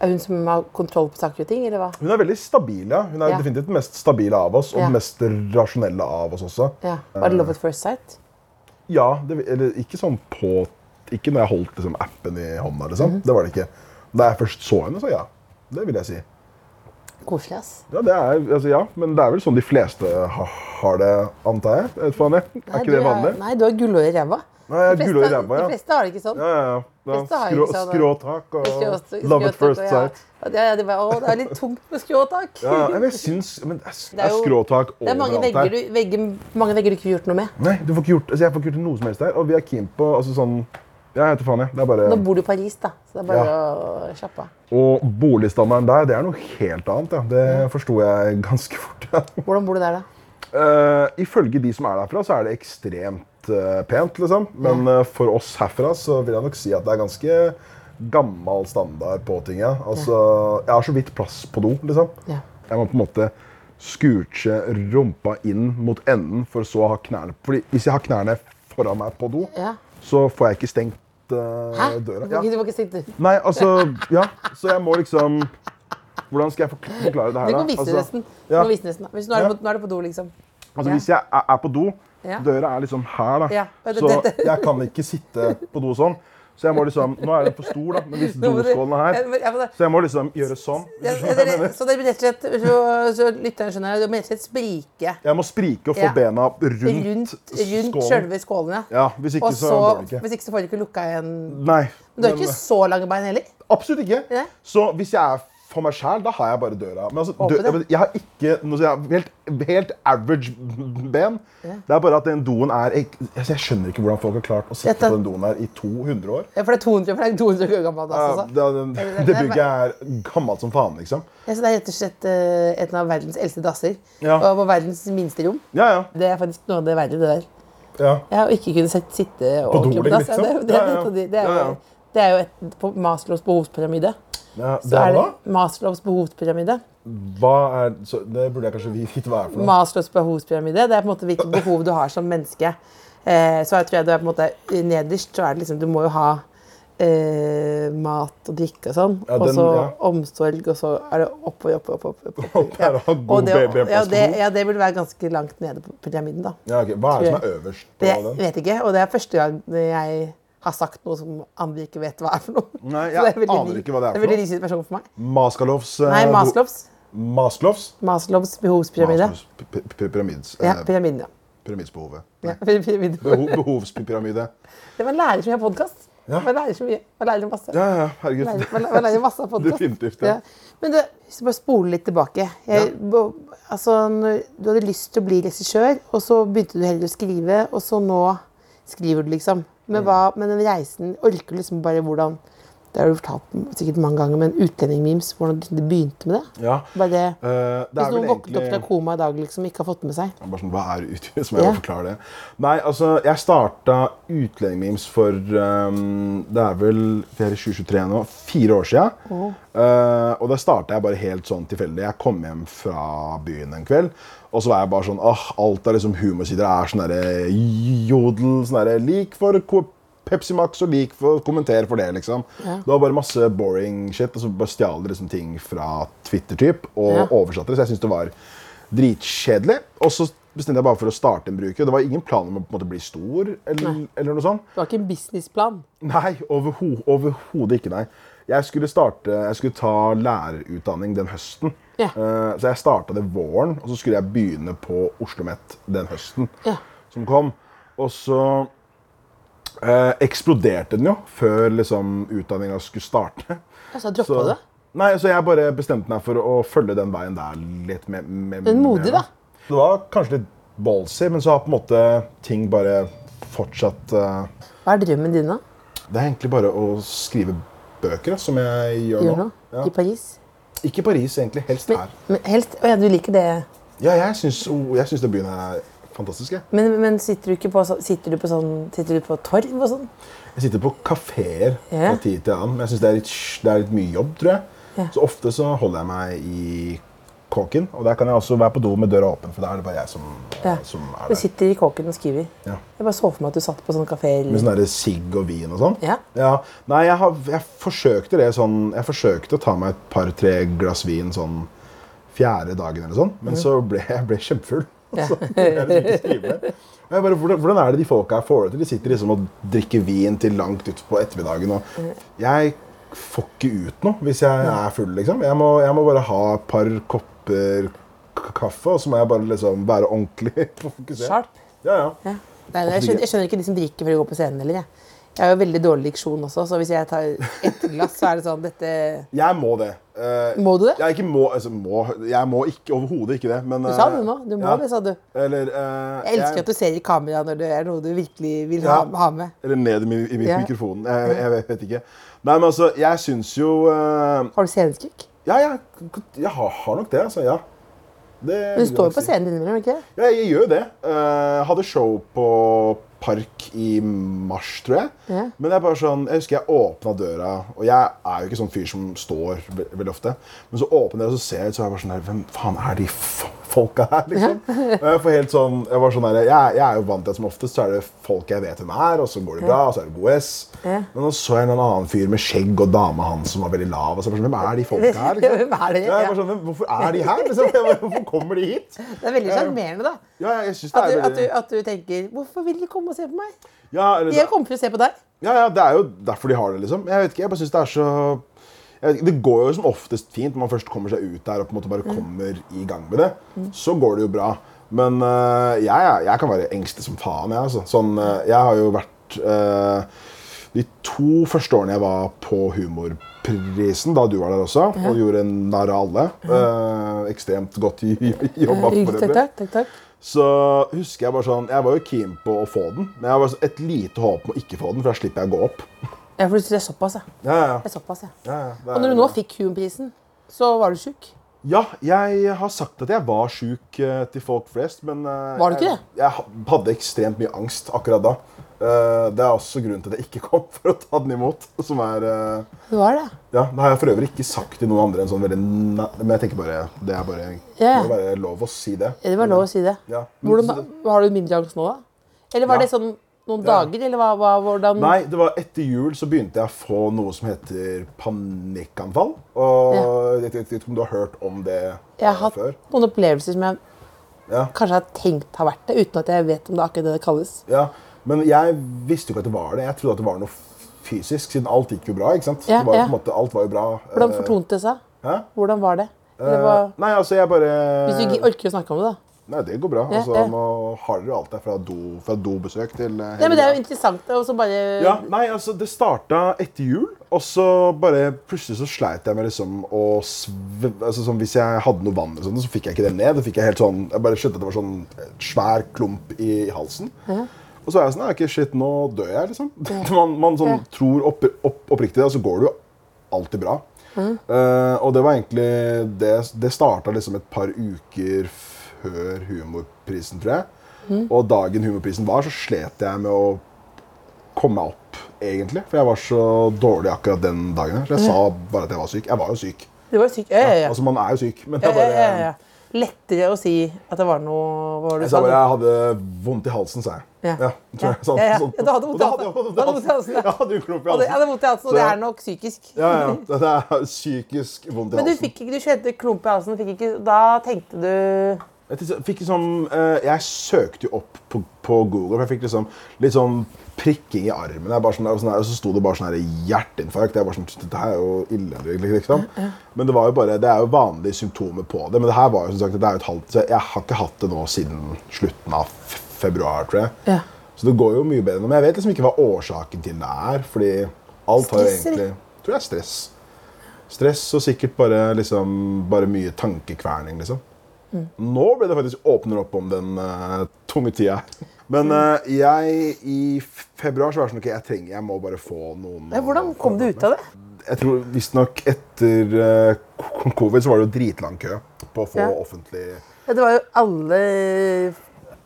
S1: Er hun som har kontroll på saker og ting, eller hva?
S3: Hun er veldig stabil, ja. Hun er
S1: Ja.
S3: definitivt den mest stabile av oss, og
S1: Ja.
S3: den mest rasjonelle av oss også.
S1: Ja. Var det love at first sight?
S3: Ja, det, eller ikke sånn på Ikke når jeg holdt liksom, appen i hånda, liksom.
S1: Mhm.
S3: Det var det ikke. Da jeg først så henne, så ja. Det vil jeg si.
S1: Koselig, ass.
S3: Ja, det er, altså, ja, men det er vel sånn de fleste ha, har det, antar jeg. Jeg vet faen jeg. Er ikke
S1: du
S3: det vanlig?
S1: Nei, du har gullhår i ræva.
S3: Nei, jeg har
S1: De fleste
S3: gullhår i
S1: har-
S3: ræva, ja.
S1: De fleste har det ikke sånn.
S3: Ja, ja, ja. Da,
S1: Fleste har
S3: skrå,
S1: ikke sånn,
S3: skråtak og love at first sight.
S1: Ja, ja, det, var, å, det er litt tungt med skråtak.
S3: Ja, ja, men jeg syns men det er, s-
S1: er
S3: er
S1: jo-
S3: skråtak
S1: Det er mange
S3: overalt
S1: vegger,
S3: her.
S1: du, vegger, mange vegger du ikke får gjort noe med.
S3: Nei, du får ikke gjort, altså, jeg får ikke gjort noe som helst her. Og vi er keen på altså, sånn Ja, jeg vet da faen, jeg. Det er bare
S1: Nå bor du i Paris, da, så det er bare å slappe av.
S3: Og boligstandarden der, det er noe helt annet. Ja. Det forsto jeg ganske fort. Ja.
S1: Hvordan bor du der, da?
S3: Eh, ifølge de som er derfra, så er det ekstremt eh, pent, liksom. Men eh, for oss herfra så vil jeg nok si at det er ganske gammel standard på ting. Ja. Altså, jeg har så vidt plass på do, liksom.
S1: Ja.
S3: Jeg må på en måte skurche rumpa inn mot enden for så å ha knærne Fordi hvis jeg har knærne foran meg på do,
S1: Ja.
S3: så får jeg ikke stengt åpnet eh,
S1: Hæ?
S3: døra.
S1: Du var ikke, du var ikke sint, du.
S3: Nei, altså Ja, så jeg må liksom Hvordan skal jeg fork- forklare det her,
S1: Du
S3: da?
S1: kan vise det
S3: Altså,
S1: nesten. Du
S3: ja.
S1: kan vise det nesten. Hvis nå, er
S3: Ja.
S1: det på, nå er det på do, liksom.
S3: Altså, hvis jeg er er på do
S1: Ja.
S3: Døra er liksom her, da.
S1: Ja, men det-
S3: Så
S1: det- det-
S3: jeg kan ikke sitte på do sånn. Så jeg må liksom Nå er den for stor, da, men hvis
S1: Nå må du-
S3: doskålen er
S1: Ja, men- ja, men
S3: her
S1: det-
S3: Så jeg må liksom gjøre sånn.
S1: Ja, dere, så dere blir rett og slett så, så lytteren skjønner, dere må rett og slett sprike
S3: Jeg må sprike og få
S1: Ja.
S3: bena rundt,
S1: rundt, rundt
S3: skålen.
S1: selve skålen. Ja.
S3: Ja, hvis ikke,
S1: Og
S3: så går det
S1: så,
S3: ikke.
S1: hvis ikke så får du ikke lukka igjen.
S3: Nei.
S1: Men du har ikke så lange bein heller.
S3: Absolutt ikke.
S1: Nei.
S3: Så hvis jeg er for meg sjæl, da har jeg bare døra. Men altså,
S1: Håper
S3: dø,
S1: det.
S3: jeg, jeg har ikke noe, jeg har helt, helt average ben. Det er bare at den doen er Jeg, altså, jeg skjønner ikke hvordan folk har klart å sitte
S1: Dette-
S3: på den doen her i 200 år.
S1: Ja, For det er 200, for det er 200 år gammelt.
S3: Ja,
S1: Altså.
S3: det, det, det bygget er gammelt som faen, liksom.
S1: Ja, så det er rett og slett eh, en av verdens eldste dasser.
S3: Ja.
S1: Og på verdens minste rom.
S3: Ja, ja.
S1: Det er faktisk noe av det verre, det der.
S3: ja.
S1: Jeg har ikke kunnet sett, sitte
S3: do,
S1: ordentlig på dass. Ja, det,
S3: liksom?
S1: det, er
S3: Ja, ja.
S1: litt av de- det, er
S3: Ja, ja.
S1: jo- det er jo et på Maslows behovspyramide.
S3: ja
S1: Så er
S3: der, da?
S1: det Maslows behovspyramide.
S3: Hva er, så, det burde jeg kanskje vite hva er for noe.
S1: Maslows behovspyramide, det er på en måte hvilke behov du har som menneske. Eh, så jeg tror jeg du er på en måte nederst, så er det liksom Du må jo ha eh, mat og drikke og sånn.
S3: Ja, den-
S1: og så
S3: ja.
S1: omsorg, og så er det oppover, oppover, oppover. oppover.
S3: Opp her og ha god
S1: Og det,
S3: baby
S1: ja,
S3: på
S1: det,
S3: sko.
S1: ja, det vil være ganske langt nede på pyramiden, da.
S3: Ja, ok. Hva er det som er øverst på
S1: Det
S3: den?
S1: vet jeg ikke, og det er første gang jeg har sagt noe som andre ikke vet hva er for noe.
S3: Nei,
S1: Så
S3: jeg
S1: er veldig
S3: aner
S1: ny-
S3: ikke hva det er
S1: Det
S3: for
S1: er veldig
S3: noe.
S1: ny situasjon for meg.
S3: Maskalovs eh,
S1: Nei,
S3: bo-
S1: Maslows.
S3: Maslows?
S1: Maslows behovspyramide.
S3: Maslows p- p- p- pyramids, eh,
S1: Ja, pyramiden, ja.
S3: pyramidsbehovet.
S1: ja pyramiden.
S3: Beho behovspyramide.
S1: Det Man lærer så mye av podkast.
S3: Ja.
S1: Man lærer så mye. Man lærer masse.
S3: Ja, ja, herregud.
S1: Man lærer, man lærer- man lærer masse av podcast.
S3: Definitivt, ja.
S1: Men du, hvis du bare spoler litt tilbake jeg, bo- altså, når Du hadde lyst til å bli regissør, og så begynte du heller å skrive, og så nå skriver du, liksom.
S3: Mm.
S1: Men, hva, men den reisen orker du liksom bare hvordan Det har du fortalt sikkert mange ganger, men utlendingmemes, hvordan du liksom begynte med det?
S3: Ja.
S1: Bare det,
S3: Eh, det
S1: Hvis
S3: er vel
S1: noen våknet opp fra
S3: egentlig
S1: koma i dag liksom ikke har fått med seg
S3: Jeg bare sånn, Hva er utlending? Som jeg må
S1: Ja.
S3: forklare det. Nei, altså, jeg starta utlendingmemes for ehm, Det er vel vi er i 2023 nå, fire år sia. Eh, og da starta jeg bare helt sånn tilfeldig. Jeg kom hjem fra byen en kveld. Og så var jeg bare sånn åh, Alt av liksom humorsider er sånn derre jodel. sånn derre Lik for ko- Pepsi Max og lik for kommenter for det, liksom. Det var bare masse boring shit. Og så bare stjal det liksom ting fra Twitter-typ og
S1: Ja.
S3: oversatte det. Så jeg syns det var dritkjedelig. Og så bestemte jeg bare for å starte en bruker. Det var ingen plan om å på en måte bli stor. eller, eller noe sånt.
S1: Du har ikke en businessplan.
S3: Nei, overho overhodet ikke, nei. Jeg skulle, starte, jeg skulle ta lærerutdanning den høsten.
S1: Ja.
S3: Eh, så jeg starta det våren, og så skulle jeg begynne på Oslo Met den høsten
S1: Ja.
S3: som kom. Og så eh, eksploderte den jo før liksom, utdanninga skulle starte.
S1: Altså, droppa du det?
S3: Nei, så jeg bare bestemte meg for å følge den veien der litt mer. mer-
S1: Men modig,
S3: mer.
S1: da.
S3: Det var kanskje litt ballsy, men så har på en måte ting bare fortsatt eh,
S1: Hva er drømmen din, da?
S3: Det er egentlig bare å skrive bøker, da, som jeg gjør,
S1: Gjør
S3: nå.
S1: noe? I
S3: Ja.
S1: Paris?
S3: Ikke i Paris, egentlig. Helst
S1: Men,
S3: her.
S1: men helst, å ja, du liker det.
S3: Ja, jeg syns, oh, jeg syns den byen her er fantastisk. Jeg.
S1: Men, men sitter, du ikke på, så- sitter, du på sånn, sitter du på torv og sånn?
S3: Jeg sitter på kafeer fra
S1: Ja.
S3: tid til annen, men jeg syns det, er litt sj- det er litt mye jobb, tror jeg.
S1: Ja.
S3: Så ofte så holder jeg meg i kåken, og der kan jeg også være på do med døra åpen, for da er det bare jeg som,
S1: Ja.
S3: som er
S1: Du
S3: der.
S1: sitter i kåken og skriver.
S3: Ja.
S1: Jeg bare så for meg at du satt på sånn kafé. eller-
S3: Med sånn derre sigg og vin og sånn.
S1: Ja.
S3: Nei, jeg, har, jeg forsøkte det sånn Jeg forsøkte å ta meg et par-tre glass vin sånn fjerde dagen eller sånn, men så ble jeg ble kjempefull.
S1: Ja.
S3: Så kunne jeg liksom ikke skrive mer. Og jeg bare, hvordan, hvordan er det de folka her får det til? De sitter liksom og drikker vin til langt utpå ettermiddagen. Og jeg får ikke ut noe hvis jeg er full, liksom. Jeg må, jeg må bare ha et par kopper k- kaffe, og så må jeg bare liksom være ordentlig fokusert.
S1: Sharp.
S3: Ja, ja.
S1: Ja. Nei, nei, jeg, skjønner, jeg skjønner ikke de som drikker før de går på scenen. Eller, jeg. jeg har jo veldig dårlig diksjon også, så hvis jeg tar ett glass, så er det sånn dette
S3: Jeg må det. Eh,
S1: Må du det?
S3: Jeg ikke må, altså, må, jeg må ikke, overhodet ikke det. Men,
S1: Du sa
S3: eh,
S1: det nå. Du må
S3: ja.
S1: det, sa du.
S3: Eller, eh,
S1: Jeg elsker at du ser i kamera når det er noe du virkelig vil
S3: Ja.
S1: ha, ha med.
S3: Eller ned i, mi- i mi-
S1: Ja.
S3: mikrofonen. Jeg, jeg vet- vet ikke. Nei, men altså, jeg syns jo eh,
S1: Har du sceneskrekk?
S3: Ja, jeg, jeg har, har nok det, altså. Ja.
S1: Men
S3: Det
S1: du
S3: vil jeg
S1: står jo på
S3: nok si.
S1: scenen innimellom, ikke det?
S3: Ja, jeg gjør jo det. Eh, hadde show på park i mars, tror jeg.
S1: Ja.
S3: Men det er bare sånn, jeg husker jeg åpna døra, og jeg er jo ikke sånn fyr som står ve veldig ofte. Men så åpner jeg, og så ser jeg ut, så er jeg bare sånn her Hvem faen er de f folka her, liksom? Og jeg får helt sånn, Jeg var sånn her, jeg, jeg er jo vant til at som oftest så er det folk jeg vet hvem er, og så går det bra, og så er det god S. Men nå så jeg en annen fyr med skjegg og dama hans som var veldig lav. og så er jeg bare sånn, Hvem er de folka her? liksom?
S1: Hvem er de?
S3: Ja, jeg bare sånn, «Hvem- Hvorfor er de her? liksom? Jeg bare, Hvorfor kommer de hit?
S1: Det er veldig sjarmerende, da.
S3: Ja, jeg synes det
S1: At
S3: er
S1: du, at, du,
S3: veldig...
S1: at du tenker 'Hvorfor vil de komme og se på meg?'
S3: Ja, eller-
S1: De kommer for å se på deg.
S3: Ja, ja, det er jo derfor de har det, liksom. Jeg vet ikke, jeg bare synes det er så jeg vet ikke, Det går jo som oftest fint når man først kommer seg ut der og på en måte
S1: Mm.
S3: bare kommer i gang med det. Så går det jo bra. Men øh, jeg, er- jeg kan være engstelig som faen, jeg. altså. Sånn, øh, jeg har jo vært øh, De to første årene jeg var på Humorprisen, da du var der også, og gjorde narr av alle øh, Ekstremt godt i- i- jobba for
S1: Eh, Takk,
S3: øvrig
S1: takk, takk, takk.
S3: så husker jeg bare sånn Jeg var jo keen på å få den, men jeg var sånn et lite håp om å ikke få den, for da slipper jeg å gå opp.
S1: Ja, for det er såpass, ja.
S3: Ja, ja,
S1: Det er såpass, ja.
S3: ja, ja, det
S1: Og
S3: er-
S1: når du nå fikk Hume-prisen, så var du sjuk.
S3: Ja, jeg har sagt at jeg var sjuk eh, til folk flest, men eh,
S1: Var du ikke
S3: jeg, jeg ha- hadde ekstremt mye angst akkurat da. Eh, det er også grunnen til at jeg ikke kom for å ta den imot. Som er eh,
S1: Det var det.
S3: Ja, det har jeg for øvrig ikke sagt til noen andre enn sånn veldig næ... Men jeg tenker bare Det er bare
S1: Ja.
S3: må være lov å si det.
S1: Ja, Det var lov å si det.
S3: Ja, men-
S1: Hvordan, har du mindre angst nå, da? Eller var
S3: Ja.
S1: det sånn noen
S3: Ja.
S1: dager, eller hva, hva, hvordan
S3: Nei, det var etter jul så begynte jeg å få noe som heter panikkanfall. Og jeg vet- jeg vet ikke om du har hørt om det
S1: Jeg har hatt
S3: før?
S1: noen opplevelser som jeg
S3: Ja.
S1: kanskje har tenkt har vært det, uten at jeg vet om det er akkurat det det kalles.
S3: Ja, men jeg visste jo ikke at det var det. Jeg trodde at det var noe fysisk, siden alt gikk jo bra. ikke sant?
S1: Ja,
S3: det var, jo
S1: ja.
S3: på en måte, alt var jo bra.
S1: Hvordan
S3: eh,
S1: fortonte det seg?
S3: Hæ?
S1: Hvordan var det?
S3: eh,
S1: Eller hva,
S3: Nei, altså, jeg bare
S1: hvis du ikke orker å snakke om det, da.
S3: Nei, det går bra.
S1: Ja,
S3: altså,
S1: ja.
S3: Nå har dere jo alt der fra, do, fra dobesøk til eh,
S1: Nei, men Det er jo
S3: hele greia.
S1: interessant. Og så bare
S3: ja, nei, altså, Det starta etter jul, og så bare plutselig så sleit jeg med liksom å sve... Altså, sånn, hvis jeg hadde noe vann, eller sånt, så fikk jeg ikke det ned. Da fikk Jeg helt sånn, jeg bare skjønte at det var sånn eh, svær klump i halsen. Og så er jeg sånn OK, shit, nå dør jeg, liksom. Man, man sånn,
S1: Ja.
S3: tror opp, opp, oppriktig det, og så går det jo alltid bra. Eh, og det var egentlig Det, det starta liksom et par uker før Humorprisen, tror jeg.
S1: Mm.
S3: Og dagen Humorprisen var, så slet jeg med å komme meg opp, egentlig. For jeg var så dårlig akkurat den dagen. her, Så jeg sa bare at jeg var syk. Jeg var jo syk.
S1: Du var jo syk. Ja, Mhm. ja, ja.
S3: Altså, man er jo syk, men
S1: ja,
S3: jeg
S1: ja,
S3: bare
S1: ja, ja. Lettere å si at det var noe hva var det du
S3: Jeg sa
S1: sa?
S3: bare jeg hadde vondt i halsen, sa jeg.
S1: Ja.
S3: tror jeg sa
S1: Ja, ja.
S3: sånn.
S1: Ja, du hadde vondt i
S3: Og da
S1: halsen.
S3: jeg vondt
S1: Du hadde vondt i halsen, ja.
S3: Jeg hadde jo klump i
S1: Og det, ja, det er
S3: halsen.
S1: vondt i halsen, og
S3: Så-
S1: det er nok psykisk.
S3: Ja, ja. Det er psykisk vondt i
S1: Men du
S3: halsen.
S1: fikk ikke, du kjente klump i halsen, fikk ikke, da tenkte du
S3: Jeg, tis- fikk liksom, eh, jeg søkte jo opp på, på Google, for jeg fikk liksom, litt sånn prikking i armen. Jeg bare sånn, og, sånn her, og så sto det bare sånn her hjerteinfarkt. Jeg bare sånn, Dette her er jo ille. Liksom. Men det, var jo bare, det er jo vanlige symptomer på det. Men det her var jo som sagt, det er jo et halvt, så jeg har ikke hatt det nå siden slutten av f- februar, tror jeg.
S1: Ja.
S3: Så det går jo mye bedre nå. Men jeg vet liksom ikke hva årsaken til det er. Fordi alt har jo
S1: Stress, eller?
S3: egentlig Jeg tror det er stress. Stress og sikkert bare, liksom, bare mye tankekverning, liksom. Nå ble det faktisk åpner opp om den eh, tunge tida. Men
S1: Mm.
S3: eh, jeg i februar så var det sånn ok, jeg trenger, jeg må bare få noen eh,
S1: Ja, Hvordan kom du ut av det?
S3: Jeg tror visstnok etter eh, k- covid så var det jo dritlang kø på å få
S1: Ja.
S3: offentlig
S1: Ja, det var jo alle,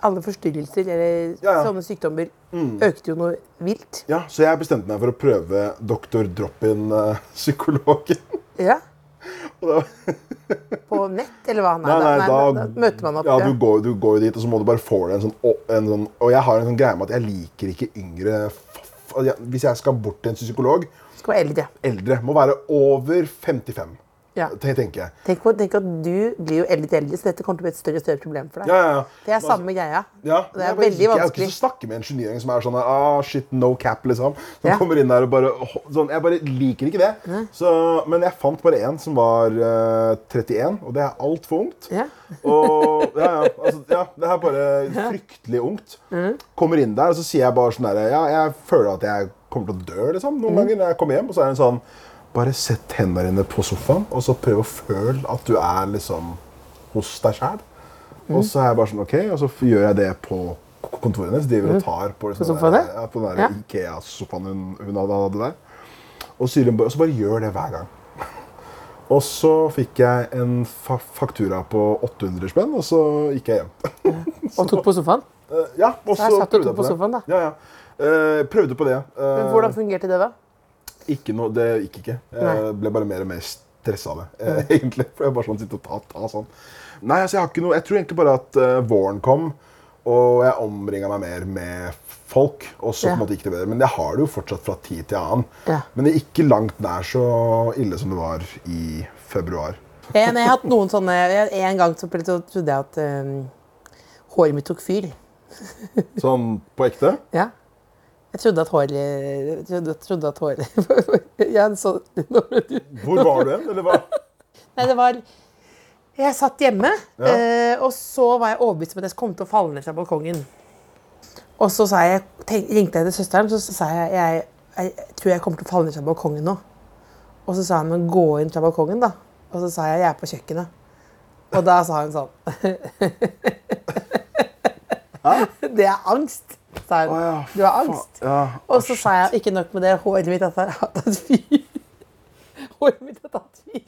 S1: alle forstyrrelser eller
S3: Ja, ja.
S1: sånne sykdommer økte jo noe vilt.
S3: Ja, så jeg bestemte meg for å prøve eh, Dr. Drop-in-psykologen.
S1: Ja.
S3: Og da-
S1: På nett, eller hva? Nei,
S3: Nei,
S1: da,
S3: nei, da-
S1: da møter man opp.
S3: Ja, du går, du går jo dit, og så må du bare få deg en sånn, å- en sånn Og jeg har en sånn greie med at jeg liker ikke yngre f- f- altså, jeg- Hvis jeg skal bort til en psykolog
S1: Skal være eldre.
S3: Eldre må være over 55,
S1: Ja.
S3: ten- tenker jeg.
S1: Tenk, på, tenk at du blir jo eldre til eldre, så dette kommer til å bli et større og større problem for deg.
S3: Ja, ja, ja.
S1: Det er samme greia.
S3: Ja,
S1: Det er
S3: jeg bare liker-
S1: veldig
S3: Jeg har ikke
S1: vanskelig.
S3: lyst til å snakke med en 29-åring som er sånn ah, shit, no cap, liksom. Som
S1: Ja.
S3: kommer inn der og bare ho- sånn, Jeg bare liker ikke det. Så, men jeg fant bare én som var eh, 31, og det er altfor ungt.
S1: Ja.
S3: Og ja, ja, altså, ja, det er bare fryktelig ungt.
S1: Mm.
S3: Kommer inn der, og så sier jeg bare sånn derre Ja, jeg føler at jeg kommer til å dø, liksom.
S1: Mm.
S3: Noen ganger når jeg kommer hjem, og så er hun sånn Bare sett hendene dine på sofaen, og så prøv å føle at du er liksom hos deg sjæl.
S1: Mm.
S3: Og så er jeg bare sånn, ok, og så gjør jeg det på k- kontoret hennes. Driver og tar på, liksom,
S1: Mm. sofaen
S3: den der-
S1: der?
S3: ja, på den der
S1: Ja.
S3: Ikea-sofaen hun, hun hadde, hadde der. Og så, sier hun bare, og så bare gjør det hver gang. Og så fikk jeg en fa faktura på 800 spenn, og så gikk jeg hjem.
S1: Og tok på sofaen.
S3: Eh, ja, og
S1: Der
S3: så
S1: satt du
S3: prøvde
S1: to
S3: jeg
S1: på
S3: på det.
S1: sofaen, da.
S3: Ja, ja. Eh, prøvde på det. Eh,
S1: Men hvordan fungerte det, da?
S3: Ikke noe, det gikk ikke. Jeg
S1: Nei.
S3: ble bare mer og mer stressa av det, eh, egentlig. For jeg bare sånn sitter og tar ta sånn. Nei, altså, jeg har ikke noe Jeg tror egentlig bare at eh, våren kom, og jeg omringa meg mer med folk. Og så
S1: Ja.
S3: på en måte gikk det bedre. Men jeg har det jo fortsatt fra tid til annen.
S1: Ja.
S3: Men det er ikke langt nær så ille som det var i februar.
S1: Jeg, Eh, jeg har hatt noen sånne jeg- En gang så plutselig så trodde jeg at øhm, håret mitt tok fyr.
S3: Sånn på ekte.
S1: Ja. Jeg trodde at håret jeg trodde, jeg trodde at håret Jeg så Nå ble du
S3: Hvor var du hen? Eller hva?
S1: Nei, det var Jeg satt hjemme,
S3: Ja.
S1: eh, og så var jeg overbevist om at jeg kom til å falle ned fra balkongen. Og så sa jeg, tenk, ringte jeg til søsteren så sa jeg, jeg jeg tror jeg kommer til å falle ned fra balkongen nå. Og så sa hun men gå inn fra balkongen, da. Og så sa jeg jeg er på kjøkkenet. Og da sa hun sånn Det er angst, sa hun.
S3: Å ja,
S1: du har angst.
S3: Ja.
S1: Og så sa jeg ikke nok med det, håret mitt har tatt fyr. Håret mitt har tatt fyr.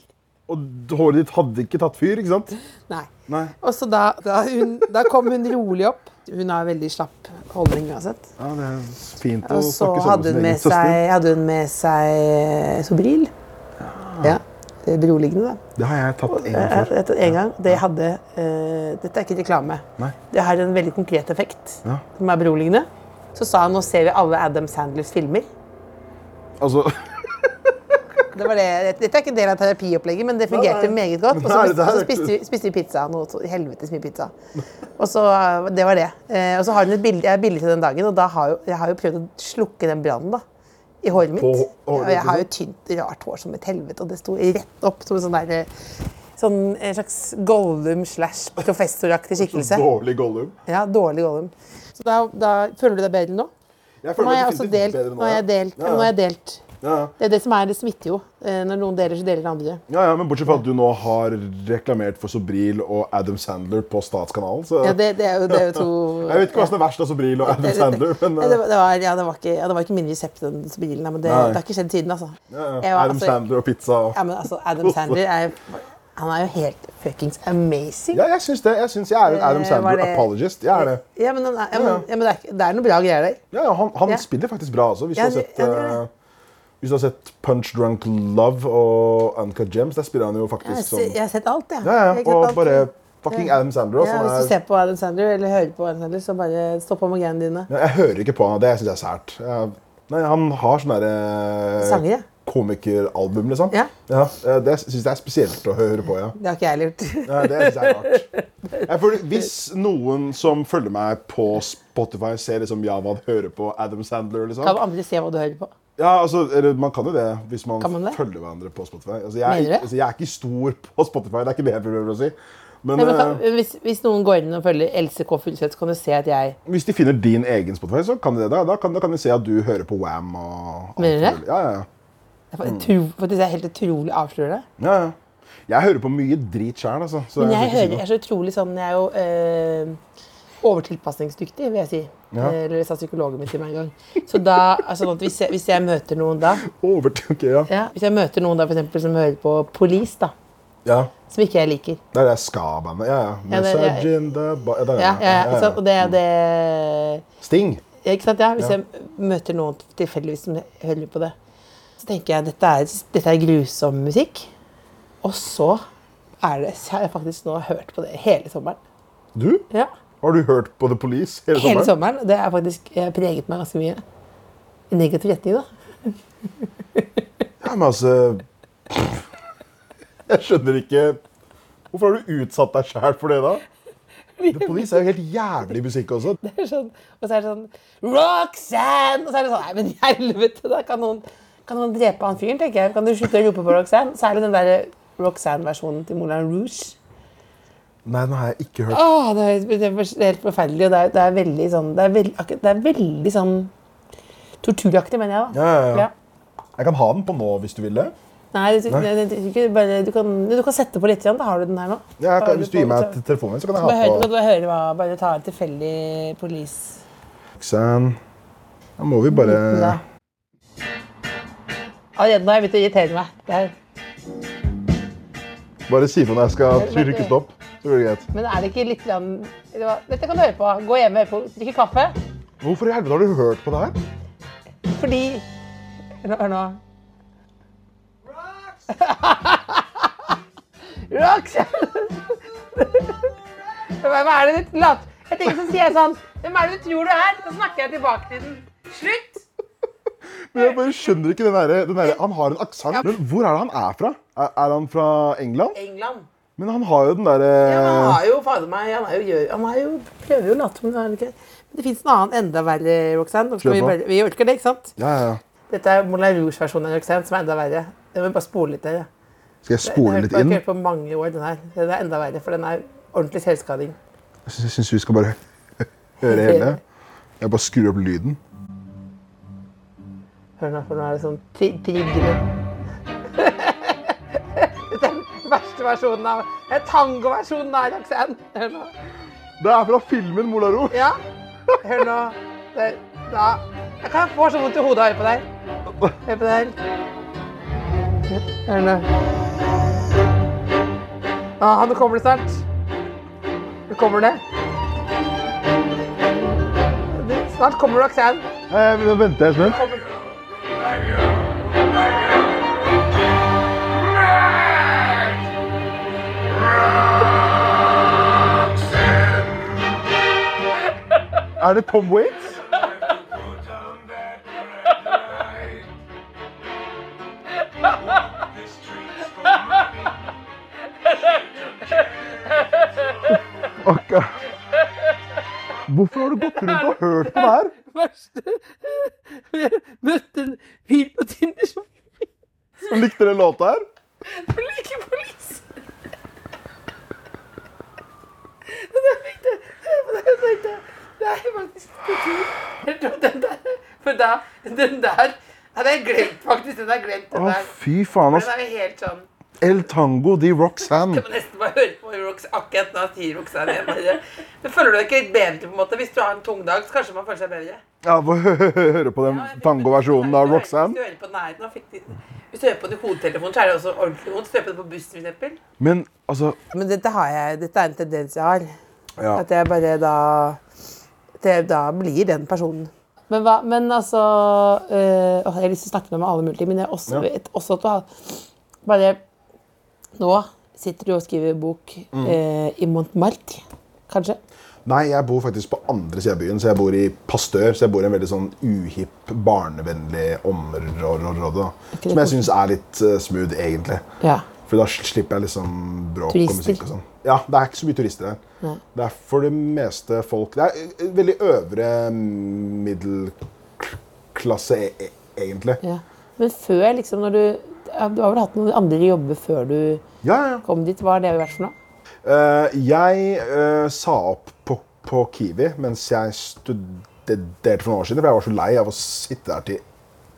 S3: Og håret ditt hadde ikke tatt fyr, ikke sant?
S1: Nei.
S3: Nei.
S1: Og så da, da, hun, da kom hun rolig opp. Hun har veldig slapp holdning uansett.
S3: Ja, det er fint å
S1: Og så
S3: snakke sammen
S1: hadde
S3: med
S1: hun
S3: sin
S1: med
S3: egen søster.
S1: seg, hadde hun med seg eh, Sobril. Ja. det er Beroligende, da.
S3: Det har jeg tatt en gang
S1: Jeg-
S3: før.
S1: jeg- En gang. Det hadde eh, Dette er ikke reklame.
S3: Nei.
S1: Det har en veldig konkret effekt
S3: Ja.
S1: som er beroligende. Så sa hun nå ser vi alle Adam Sandlers filmer.
S3: Altså,
S1: Det var det. Dette er ikke en del av terapiopplegget, men det fungerte
S3: Nei, nei.
S1: meget godt. Og så
S3: Nei, det
S1: spiste,
S3: er
S1: og så
S3: ikke-
S1: spiste, vi, spiste vi pizza. Noe så helvetes mye pizza. Og så, eh, Det var det. Eh, og så har hun et bilde, jeg har et bilde til den dagen, og da har jo, jeg har jo prøvd å slukke den brannen da, i håret mitt.
S3: På hå- håret,
S1: og jeg
S3: ikke
S1: har jo
S3: sant?
S1: tynt, rart hår som et helvete, og det sto rett opp som en sånn der, eh, sånn, en slags Gollum slash professoraktig skikkelse.
S3: Sånn dårlig Gollum.
S1: Ja, dårlig Gollum. Så da, da føler du deg bedre nå? Nå
S3: Jeg føler
S1: har jeg
S3: meg
S1: også
S3: definitivt
S1: delt.
S3: bedre
S1: Nå har jeg delt.
S3: Ja,
S1: Nå har jeg delt.
S3: ja.
S1: Det er det som er, det smitter jo. Eh, Når noen deler, så deler andre.
S3: Ja, ja, men bortsett fra at du nå har reklamert for Sobril og Adam Sandler på Statskanalen, så
S1: Ja, det, det er jo, det er jo to
S3: Jeg vet ikke hva som er verst av Sobril og Adam Sandler, men
S1: Nei,
S3: eh,
S1: det, var- det, var, ja, det, var ikke, ja, det var ikke min resept, den bilen, men det,
S3: Nei.
S1: det har ikke skjedd siden. altså.
S3: ja,
S1: Jeg
S3: ja,
S1: var-
S3: Adam
S1: altså-
S3: Sandler og pizza og
S1: Ja, men altså, Adam Sandler er, jo- han er jo helt fuckings amazing.
S3: Ja, jeg syns det. Jeg syns jeg er en Adam
S1: Eh, var
S3: Sandler
S1: det-
S3: apologist. Jeg er det.
S1: Ja, men, han er, ja,
S3: Ja,
S1: men,
S3: ja.
S1: ja, men det, er, ikke- det er noen bra greier der.
S3: Ja, ja, han, han
S1: Ja.
S3: spiller faktisk bra også, hvis
S1: Ja,
S3: du har
S1: det-
S3: sett
S1: ja, det gjør
S3: eh, Hvis du har sett Punch Drunk Love og Uncut Gems, der spiller han jo
S1: Jeg,
S3: faktisk
S1: har
S3: sånn
S1: se- jeg har sett alt, jeg.
S3: Ja,
S1: Jeg
S3: ja,
S1: har ikke sett
S3: og
S1: alt.
S3: bare fucking Adam Sandler
S1: ja, Hvis du
S3: også.
S1: ser på Adam Sandler eller hører på Adam Sandler, så bare stopp om med greiene dine.
S3: Ja, Jeg hører ikke på han, og det syns jeg er sært. Jeg, nei, han har sånne
S1: Sanger, ja.
S3: derre Komikeralbum, liksom.
S1: Ja.
S3: eh, det syns jeg er spesielt å høre på, ja.
S1: Det har ikke jeg gjort.
S3: ja det syns jeg er rart. Jeg føler, hvis noen som følger meg på Spotify, ser liksom Javad høre på Adam Sandler,
S1: Kan
S3: liksom
S1: andre se hva du hører på?
S3: ja, altså, eller, Man kan jo det hvis man,
S1: Kan man det?
S3: følger hverandre på Spotify. Altså, jeg,
S1: Mener du det?
S3: altså, jeg er ikke stor på Spotify, det er ikke det jeg prøver å si. Men,
S1: Nei, men kan,
S3: eh,
S1: hvis, hvis noen går inn og følger Else K. Furuseth, så kan du se at jeg
S3: Hvis de finner din egen Spotify, så kan de det. Da, da, kan, da kan de se at du hører på Wam. og alt
S1: Mener du det?
S3: mulig. Ja, ja, ja.
S1: Det er utro, faktisk er helt utrolig avslørende.
S3: ja, ja. Jeg hører på mye drit sjøl, altså. så
S1: Men jeg,
S3: skal
S1: hører,
S3: ikke
S1: jeg
S3: si
S1: er så utrolig sånn Jeg er jo eh, overtilpasningsdyktig, vil jeg si.
S3: Ja.
S1: Eh, Eller sa psykologen min til meg en gang. Så da, altså, sånn at hvis, jeg, hvis jeg møter noen da
S3: noe. Over til ok, ja.
S1: ja, Hvis jeg møter noen da for eksempel, som hører på Police, da,
S3: ja.
S1: som ikke jeg liker
S3: Det er det ska-bandet. Ja, ja.
S1: Ja, det-
S3: Message in the ba ja, det er det,
S1: ja, ja, Mm.
S3: ja, ja.
S1: Så, Og det er det
S3: Sting.
S1: ja, Ikke sant? Ja, hvis
S3: Ja.
S1: jeg møter noen tilfeldigvis som hører på det, så tenker jeg dette er, dette er grusom musikk. Og så er det, så har jeg faktisk nå hørt på det hele sommeren.
S3: Du?
S1: Ja.
S3: Har du hørt på The Police hele sommeren?
S1: Hele sommeren. Det har faktisk eh, preget meg ganske mye. I negativ retning, da.
S3: Ja, men altså Jeg skjønner ikke Hvorfor har du utsatt deg sjæl for det, da? The Police er jo helt jævlig musikk også.
S1: Det er sånn, og så er det sånn Roxanne! Og så er det sånn Nei, men i helvete, da kan noen, kan noen drepe han fyren, tenker jeg. Kan du slutte å rope på Roxanne? Så er det den derre Roxanne-versjonen til Moulin Rouge.
S3: Nei, den har jeg ikke hørt.
S1: Åh, det, er, det er helt forferdelig, og det er, det er veldig sånn Det er, veld, akkurat- det er veldig sånn torturaktig, mener jeg, da.
S3: Ja, ja, ja. Jeg kan ha den på nå hvis du vil det.
S1: Nei, du, du, du, du, bare, du, kan, du kan sette på litt, igjen, da har du den her nå.
S3: Ja, jeg
S1: Har
S3: kan, hvis du gir
S1: på,
S3: meg
S1: så-
S3: t- telefonen min, så kan jeg
S1: Bare
S3: ha
S1: hør,
S3: på
S1: bare, hør hva, bare ta en tilfeldig police.
S3: Roxanne. Da må vi bare
S1: Da. Allerede nå har jeg begynt å irritere meg. Det er,
S3: Bare si fra når jeg skal trykke stopp. Så blir det greit.
S1: Men er det ikke litt grann det var- Dette kan du høre på. Gå hjem og høre på. Drikke kaffe.
S3: Hvorfor i helvete har du hørt på det her?
S1: Fordi Hør nå, Hør nå. Rocks! Hva hva er det du lat... Jeg tenker så sier jeg sånn Hvem er det du tror du er? Så snakker jeg tilbake til den. Slutt!
S3: Men jeg bare skjønner ikke den derre den derre- Han har en aksent. Men hvor er det han er fra? Er, er han fra England?
S1: England.
S3: Men han har jo den eh, derre
S1: Ja, men han har jo fader meg Han, er jo, gjør- han er jo, prøver jo å late som han er det ikke. Men det fins en annen enda verre Roxanne. Nå skal
S3: Kjør
S1: Vi,
S3: på.
S1: bare- vi orker det, ikke sant?
S3: Ja, ja, ja.
S1: Dette er Moulin Rouge-versjonen av Roxanne, som er enda verre. Jeg vil bare spole litt der. ja.
S3: Skal jeg spole litt
S1: Jeg har
S3: inn?
S1: ikke hørt på mange år, den her. Den er enda verre, for den er ordentlig selvskading.
S3: Jeg syns- Jeg syns vi skal bare høre hele. Jeg bare skrur opp lyden.
S1: Hør nå, for nå er det sånn tri trigger. den verste versjonen av Den tangoversjonen av Roxanne. Hør nå.
S3: Det er fra filmen Molaro.
S1: Ja. Hør nå. Det, da. Jeg kan få så vondt i hodet av å høre på deg. Hør på deg. Hør nå. Ah, nå kommer det snart. Nå kommer det. Det- Snart kommer Roxanne.
S3: Nå venter jeg en stund. Er det Tom Waits? Ok. Hvorfor har du gått rundt og hørt på det her?
S4: Verste Jeg møtte en fyr på Tinder som
S3: Likte dere låta her?
S4: liker politi.
S1: Det er faktisk kultur. Helt opp Den der, for da, den der ja, Den er glemt, faktisk. Den er glemt, den
S3: Å,
S1: der.
S3: fy faen, ass.
S1: Den er jo helt sånn
S3: El Tango de Roxanne.
S1: Kan nesten bare høre på Rox akkurat nå sier Roxanne igjen. bare. Men føler du deg ikke litt bedre på en måte? Hvis du har en tung dag, så kanskje man føler seg bedre?
S3: Ja, få hø- hø- hø- høre på den tangoversjonen av
S1: Hvis
S3: Roxanne.
S1: du hører på den her, nå fikk de, hvis du hører på den i hodetelefonen, så er det også ordentlig vondt. Hvis du hører på den på bussen, for eksempel.
S3: Men altså
S1: Men dette, har jeg, dette er en tendens jeg har.
S3: Ja.
S1: At jeg bare da det, Da blir den personen. Men, hva, men altså øh, åh, Jeg har lyst til å snakke med deg om alle mulige ting, men jeg også
S3: Ja.
S1: vet også at du har Bare nå sitter du og skriver bok eh, i Montmartre, kanskje?
S3: Nei, jeg bor faktisk på andre siden av byen, så jeg bor i Pasteur. Så jeg bor i en veldig sånn uhipp, barnevennlig område. da.
S1: det
S3: Som jeg syns er litt eh, smooth, egentlig.
S1: Ja.
S3: For da slipper jeg liksom bråk
S1: Turister.
S3: og musikk og sånn. Ja, det er ikke så mye turister der. Det er for det meste folk Det er eh, veldig øvre middelklasse, e- e- egentlig. Ja,
S1: Ja. Men før, liksom, når du ja, Du har vel hatt noen andre jobber før du
S3: ja. ja.
S1: kom dit? Hva har det vært for noe?
S3: Eh, jeg eh, sa opp på, på Kiwi mens jeg studerte for noen år siden, for jeg var så lei av å sitte der til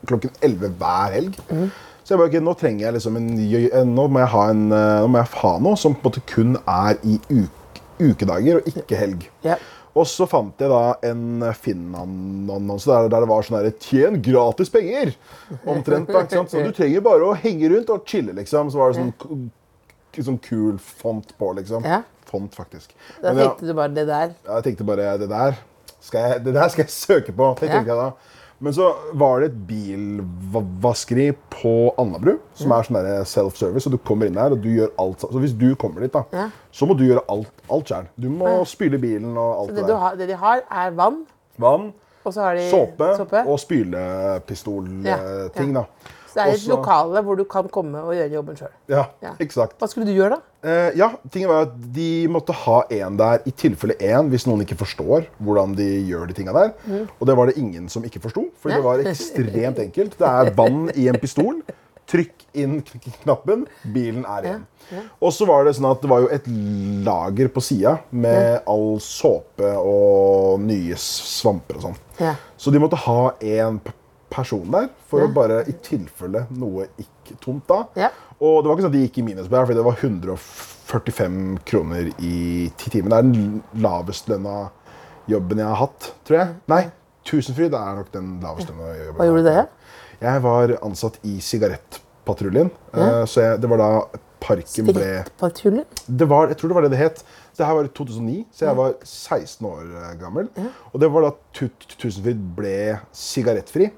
S3: klokken 11 hver helg.
S1: Mhm.
S3: Så jeg bare, ok, nå trenger jeg liksom en, ny- en nå, må jeg ha en, eh, nå må jeg ha noe som på en måte kun er i uk, ukedager og ikke helg.
S1: Ja.
S3: Og så fant jeg da en Finn-annonse der, der det var sånn herre Tjen gratis penger! Omtrent. da, ikke sant? Så du trenger bare å henge rundt og chille, liksom. Så var det sånn k- sånn kul font på, liksom.
S1: Ja.
S3: Font, faktisk.
S1: Da
S3: Men ja,
S1: tenkte du bare det der.
S3: jeg tenkte bare Det der skal jeg, det der skal jeg søke på. Det
S1: Ja.
S3: tenkte jeg da. Men så var det et bilvaskeri på Alnabru, som er sånn der self-service. og Du kommer inn der, og du gjør alt. Så hvis du kommer dit, da,
S1: Ja.
S3: så må du gjøre alt, alt sjøl. Du må spyle bilen og alt
S1: Det,
S3: det
S1: du
S3: der.
S1: har, det de har, er vann,
S3: Vann,
S1: og så har de
S3: såpe,
S1: Eh, såpe.
S3: og spylepistolting,
S1: Ja,
S3: ting
S1: ja.
S3: da.
S1: Så det er et
S3: Også-
S1: lokale hvor du kan komme og gjøre jobben sjøl.
S3: Ja,
S1: Ja.
S3: eksakt.
S1: Hva skulle du gjøre, da?
S3: Eh, ja, tingen var at De måtte ha en der i tilfelle én, hvis noen ikke forstår hvordan de gjør de tinga der.
S1: Mm.
S3: Og det var det ingen som ikke forsto, for det var ekstremt enkelt. Det er vann i en pistol. Trykk inn kn- kn- knappen, bilen er igjen. Og så var det sånn at det var jo et lager på sida med all såpe og nye s- svamper og sånn.
S1: Ja.
S3: Så de måtte ha en p- person der for å bare i tilfelle noe gikk tomt da.
S1: Ja.
S3: Og det var ikke sånn at de gikk i minus på det, her, fordi det var 145 kroner i ti timen. Det er den lavestlønna jobben jeg har hatt, tror jeg. Nei, Tusenfryd er nok den lavestlønna jobben.
S1: Hva gjorde
S3: jeg har
S1: dere?
S3: hatt. Jeg var ansatt i sigarettpatruljen. eh, Så jeg, det var da parken ble
S1: Rett på tullen.
S3: det var, jeg tror det var det det het. Det her var i 2009, så jeg var 16 år eh, gammel. Og det var da Tut- Tusenfryd ble sigarettfri.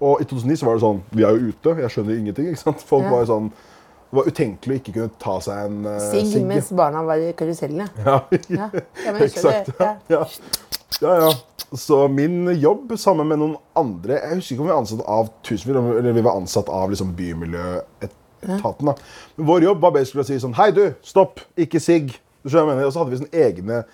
S3: Og i 2009 så var det sånn Vi er jo ute, jeg skjønner ingenting. ikke sant? Folk
S1: Ja.
S3: var jo sånn, Det var utenkelig å ikke kunne ta seg en uh,
S1: Sigg mens barna var i karusellen, ja.
S3: Ja,
S1: Ja, ja, men jeg skjønner
S3: Exakt,
S1: det.
S3: ja. ja. ja, ja. Så min jobb sammen med noen andre Jeg husker ikke om vi var ansatt av Tusenfryd, om- eller vi var ansatt av liksom Bymiljøetaten. da. Men vår jobb var basically å si sånn Hei, du! Stopp! Ikke sigg! Du skjønner hva jeg mener? Og så hadde vi sånne egne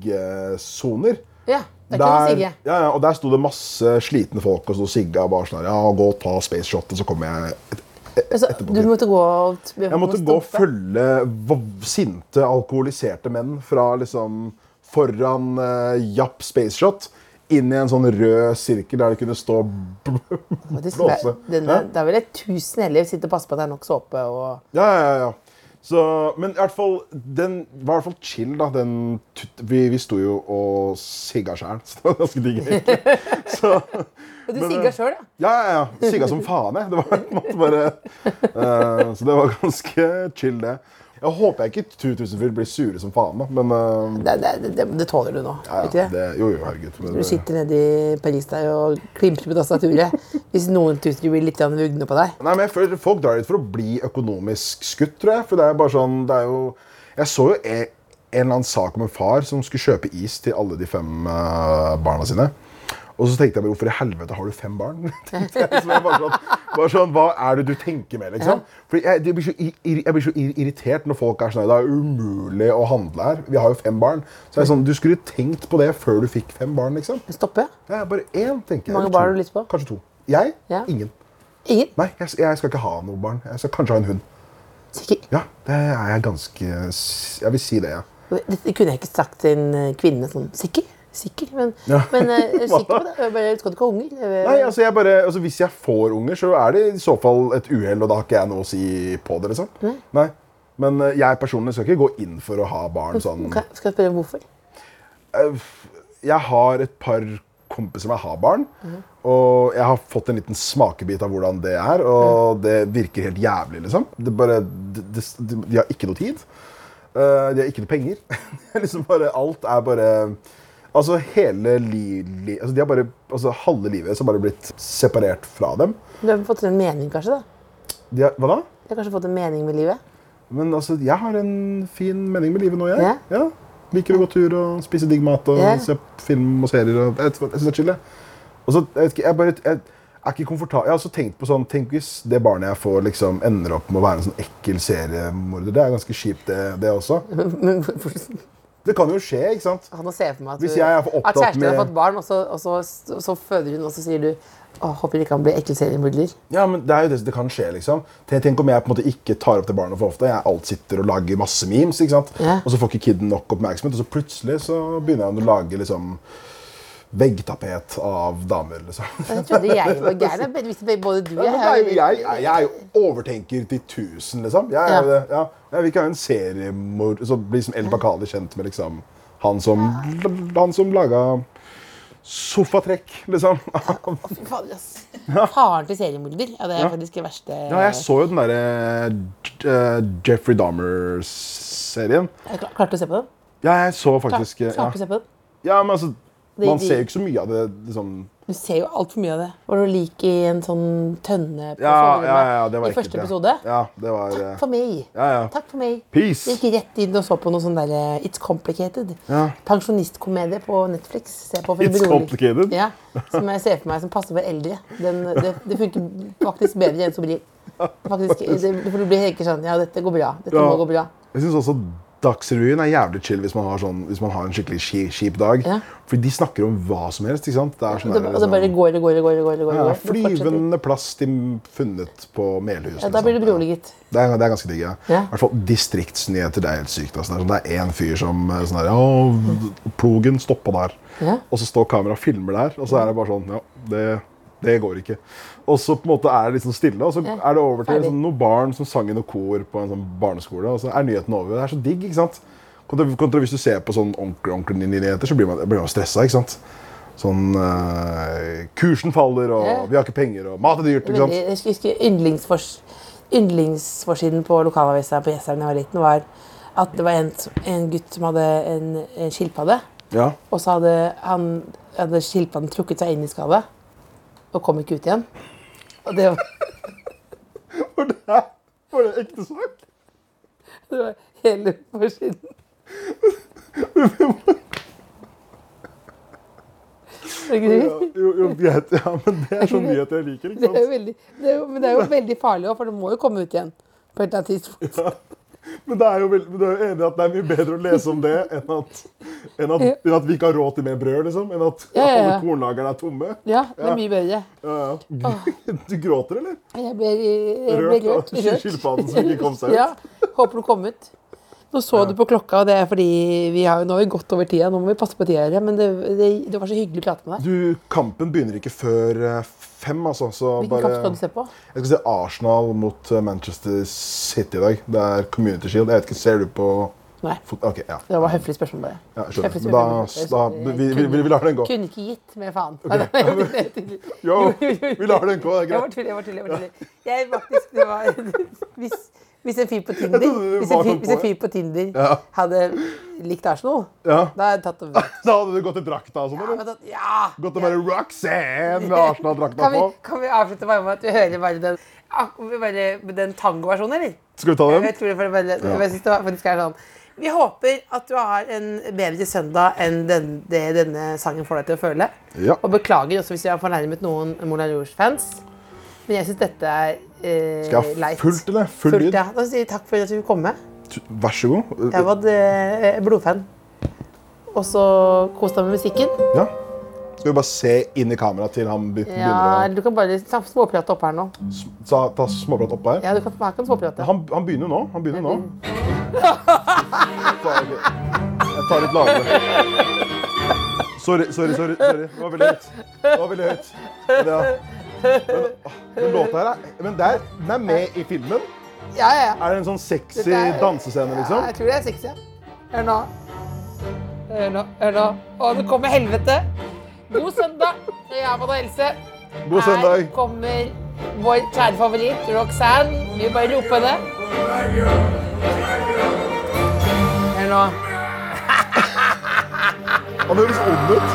S3: siggsoner.
S1: Ja, det er ikke noe å sigge.
S3: ja, ja, og der sto det masse slitne folk og så sigga og bare sånn her, Ja, gå og ta space shot, og så kommer jeg et, et,
S1: Altså,
S3: etterpå.
S1: du måtte gå og t-
S3: Jeg måtte
S1: stoppe.
S3: gå og følge v- sinte, alkoholiserte menn fra liksom foran uh, Japp Spaceshot inn i en sånn rød sirkel der det kunne stå bl
S1: Faktisk,
S3: blåse.
S1: det- den
S3: Hæ?
S1: er- Da vil jeg tusen heller sitte og passe på at det er nok såpe og
S3: Ja, ja, ja. Så, men i hvert fall, den var i hvert fall chill, da. Den, tut- vi, vi sto jo og sigga sjæl, så det var ganske digg. egentlig. Så,
S1: Og du
S3: Men,
S1: sigga
S3: eh,
S1: sjøl, ja?
S3: Ja, ja, ja. Sigga som faen, jeg. Det var på en måte bare... eh, så det var ganske chill, det. Jeg håper jeg ikke 2000 fyr blir sure som faen, da. Men eh,
S1: Det, det, det, det tåler du nå.
S3: ja,
S1: vet du
S3: ja,
S1: det?
S3: det, jo, jo, herregud. Men,
S1: Du sitter nede i Paris der og klimprer på tastaturet. Hvis noen tusen blir litt grann vugne på deg.
S3: Nei, men jeg føler Folk drar dit for å bli økonomisk skutt, tror jeg. For det er bare sånn, det er jo... Jeg så jo en, en eller annen sak om en far som skulle kjøpe is til alle de fem eh, barna sine. Og så tenkte jeg bare, hvorfor i helvete har du fem barn? Tenkte jeg, så jeg bare, sånn, bare sånn, Hva er det du tenker med, liksom? Fordi jeg, det blir så, ir- ir- jeg blir så ir- irritert når folk er sånn Det er umulig å handle her. Vi har jo fem barn. Så jeg er sånn, Du skulle tenkt på det før du fikk fem barn, liksom.
S1: Stoppe?
S3: Det er bare én, tenker jeg.
S1: Mange barn
S3: eller to.
S1: har du lyst på?
S3: Kanskje to. Jeg?
S1: Ja.
S3: Ingen.
S1: Ingen?
S3: Nei, jeg, jeg skal ikke ha noe barn. Jeg skal kanskje ha en hund.
S1: Sikker?
S3: Ja, det er jeg ganske s- Jeg vil si det, ja.
S1: Dette kunne jeg ikke sagt til en eh, kvinne sånn Sikker? Sikker? Men,
S3: Ja.
S1: men eh, er du sikker på det? Jeg Bare, skal du ikke ha unger? Eh,
S3: Nei, altså, jeg bare, altså Hvis jeg får unger, så er det i så fall et uhell, og da har ikke jeg noe å si på det. liksom. Nei. Men eh, jeg personlig skal ikke gå inn for å ha barn sånn
S1: Kan- Skal jeg spørre hvorfor?
S3: Eh, Jeg har et par kompiser som jeg har barn, og jeg har fått en liten smakebit av hvordan det er, og det virker helt jævlig, liksom. Det bare, det, det, de har ikke noe tid. Eh, de har ikke noe penger. Det er liksom bare, alt er bare Altså hele li, li, altså, de har bare, altså, Halve livet som bare blitt separert fra dem.
S1: Du har fått en mening, kanskje? da?
S3: De har, hva da?
S1: Du har kanskje fått en mening med livet?
S3: Men altså, jeg har en fin mening med livet nå, jeg.
S1: Ja.
S3: Ja. Liker å gå tur og spise digg mat og
S1: Ja.
S3: se film og serier. Og, jeg jeg syns det er chill, jeg. Og så, jeg, vet ikke, jeg, bare, jeg er ikke komfortabel. Jeg har også tenkt på sånn, Tenk hvis det barnet jeg får, liksom, ender opp med å være en sånn ekkel seriemorder. Det er ganske kjipt, det, det også.
S1: Men hvorfor-
S3: Det kan jo skje, ikke sant?
S1: Han må se for meg at,
S3: Hvis
S1: du-
S3: jeg er for
S1: at
S3: opptatt
S1: kjæresten har
S3: med-
S1: fått barn, og så, og så, så føder hun, og så sier du Åh, håper ikke han blir ekkel seriemorder.
S3: Ja, men Det er jo det, det kan skje. liksom. Tenk- Tenk om jeg på en måte ikke tar opp det barnet for ofte. Jeg alt sitter og lager masse memes, ikke sant?
S1: Ja.
S3: og så får ikke kiden nok oppmerksomhet. Og så plutselig så begynner han å lage liksom veggtapet av damer. liksom.
S1: Jeg trodde jeg var gæren. men Hvis både du og
S3: Ja,
S1: jeg
S3: men det er jo-
S1: er
S3: jeg, jeg, jeg er jo overtenker til tusen, liksom. Jeg, er jo
S1: Ja.
S3: det, ja. jeg vil ikke ha en seriemord Så blir som El Bakali kjent med liksom han som, han som laga sofatrekk, liksom.
S1: Å, fy fader, ass. Faren til seriemorder. Ja, det er faktisk det verste
S3: Ja, jeg så jo den derre eh, Jeffrey Dahmer-serien.
S1: Jeg klar- Klarte du å se på den?
S3: Ja, jeg så faktisk
S1: Klar-
S3: ja.
S1: Klarte du å se på den?
S3: ja, men altså
S1: Det-
S3: Man
S1: det-
S3: ser jo ikke så mye av det liksom
S1: Du ser jo altfor mye av det. Var du lik i en sånn tønne på
S3: Ja,
S1: soverommet
S3: ja, ja, det var
S1: i første
S3: ekkelt, ja.
S1: episode?
S3: Ja, det var eh,
S1: Takk for meg.
S3: Ja, ja.
S1: Takk for meg.
S3: Peace.
S1: Gikk rett inn og så på noe sånn der eh, It's Complicated.
S3: Ja.
S1: Pensjonistkomedie på Netflix. Se på for å
S3: It's
S1: bli rolig.
S3: Complicated?
S1: Ja, Som jeg ser for meg som passer for eldre. Den, det, det funker faktisk bedre enn sobril. Faktisk, det, for du blir helt ikke sånn Ja, dette går bra. Dette
S3: Ja.
S1: må gå bra.
S3: Jeg syns også Dagsrevyen er jævlig chill hvis man har, sånn, hvis man har en skikkelig ki- kjip dag.
S1: Ja.
S3: Fordi de snakker om hva som helst. ikke sant? Det er sånn
S1: Og det,
S3: der,
S1: og det bare går og går og går. og går, og går.
S3: ja,
S1: Du fortsetter.
S3: Flyvende plast de funnet på Melhus.
S1: Ja, da blir du
S3: liksom.
S1: beroliget.
S3: Det er, det er ganske digg. ja. I
S1: Ja.
S3: hvert fall distriktsnyheter. Det er helt sykt. Altså. Det er sånn- Det er én fyr som eh, sånn der, Å, plogen stoppa der.
S1: Ja.
S3: Og så står kameraet og filmer der, og så er det bare sånn Ja, det, det går ikke. Og så på en måte er det liksom stille, og så
S1: Ja,
S3: er det over til
S1: ferdig.
S3: sånn, noen barn som sang i noe kor på en sånn barneskole, og så er nyheten over. Det er så digg, ikke sant? Kontra, kontra hvis du ser på sånn ordentlig- ordentlige nyheter, så blir man, blir man stressa, ikke sant? Sånn eh, Kursen faller, og
S1: Ja.
S3: vi har ikke penger, og mat er dyrt, ikke sant?
S1: Veldig- Jeg husker yndlingsfors... Yndlingsforsiden på lokalavisa på Jessheim da jeg var liten, var at det var en, en gutt som hadde en, en skilpadde.
S3: Ja.
S1: Og så hadde, han, hadde skilpadden trukket seg inn i skallet og kom ikke ut igjen. Og det var,
S3: Var det, var det ekte sak?
S1: det var hele forsiden. Det er ikke
S3: Jo, jo, greit. Ja, men det er sånn nyhet jeg liker,
S1: Det er
S3: ikke
S1: jo
S3: sant?
S1: veldig, det er jo, men det er jo veldig farlig òg, for det må jo komme ut igjen. På et eller annet tidspunkt.
S3: Men det er jo veld- men du er jo enig i at det er mye bedre å lese om det enn at, enn at, enn at vi ikke har råd til mer brød, liksom? Enn at
S1: Ja, ja, ja.
S3: alle kornlagerne er tomme?
S1: Ja, det er mye bedre.
S3: Ja, ja. Du gråter, eller?
S1: Jeg ble, jeg ble
S3: Rørt
S1: rørt.
S3: av
S1: rørt.
S3: skilpadden som ikke kom seg ut.
S1: Ja, Håper du kom ut. Nå så du på klokka, og det er fordi vi har, jo- nå har vi gått over tida. Nå må vi passe på tida, Jørgen, men det, det, det var så hyggelig å prate med deg.
S3: Du, kampen begynner ikke før eh, fem, altså. Så
S1: Hvilken
S3: bare
S1: kamp skal du se på?
S3: Jeg skal se Arsenal mot eh, Manchester City i dag. Det er Community Shield. Jeg vet ikke, Ser du på
S1: Nei.
S3: fot... OK, ja.
S1: Det var høflig spørsmål, bare.
S3: ja jeg skjønner.
S1: Høflig
S3: Men da,
S1: spørsmål. eh,
S3: da vi, vi, vi, vi lar den gå.
S1: Kunne ikke gitt mer faen. Nei, nei, det er tydelig.
S3: Jo, vi lar den gå. Det er
S1: Jeg var
S3: greit.
S1: tydelig, jeg var tydelig. Jeg var tydelig. Jeg faktisk, det var, hvis, hvis en fyr på Tinder,
S3: Jeg trodde du
S1: hvis en
S3: var
S1: fyr,
S3: sånn
S1: hvis en
S3: på,
S1: fyr på Tinder
S3: Ja.
S1: hadde likt Arsenal,
S3: Ja.
S1: da hadde jeg tatt det vekk.
S3: Da hadde du gått i drakta og sånn,
S1: Ja, men
S3: eller?
S1: da- ja!
S3: Gått og bare Roxanne med Arsenal-drakta
S1: Kan vi,
S3: på.
S1: kan vi avslutte bare med at vi hører bare den, ak- vi bare, den tangoversjonen, eller?
S3: Skal vi ta den?
S1: Jeg tror det for- bare, jeg synes det var- faktisk er sånn. Vi håper at du har en bedre søndag enn den, det denne sangen får deg til å føle.
S3: Ja.
S1: Og beklager også hvis vi har fornærmet noen Moulin Rouge-fans. Men jeg syns dette er eh,
S3: Skal jeg ha
S1: leit.
S3: fullt, eller? Full
S1: Fullt,
S3: lyd?
S1: ja. Da sier vi takk for at du ville komme.
S3: Tu- Vær så god.
S1: Jeg var eh, blodfan. Og så kos deg med musikken.
S3: Ja. Skal vi bare se inn i kameraet til han be-
S1: Ja,
S3: begynner
S1: eller du kan bare ta- småprate opp her nå.
S3: å s- ta, ta småprat oppå her?
S1: Ja, du kan, her kan du småprate.
S3: Han, han begynner jo nå. Han begynner nå. Faen, Jeg tar litt lavere. Sorry, sorry, sorry. sorry. Det var veldig høyt. Det var veldig høyt. Men, ja. men, ah, men låta her er, men det er, den er med i filmen.
S1: Ja, ja, ja.
S3: Er det en sånn sexy
S1: Dette er-
S3: dansescene,
S1: ja
S3: liksom?
S1: jeg tror det er sexy. ja. Hør nå. Hør nå. hør nå. Å, nå kommer helvete. God søndag. Jeg er på helse.
S3: God søndag.
S1: Her kommer vår kjære favoritt, Roxanne. Vi bare roper henne. Hør nå.
S3: Han høres ond ut.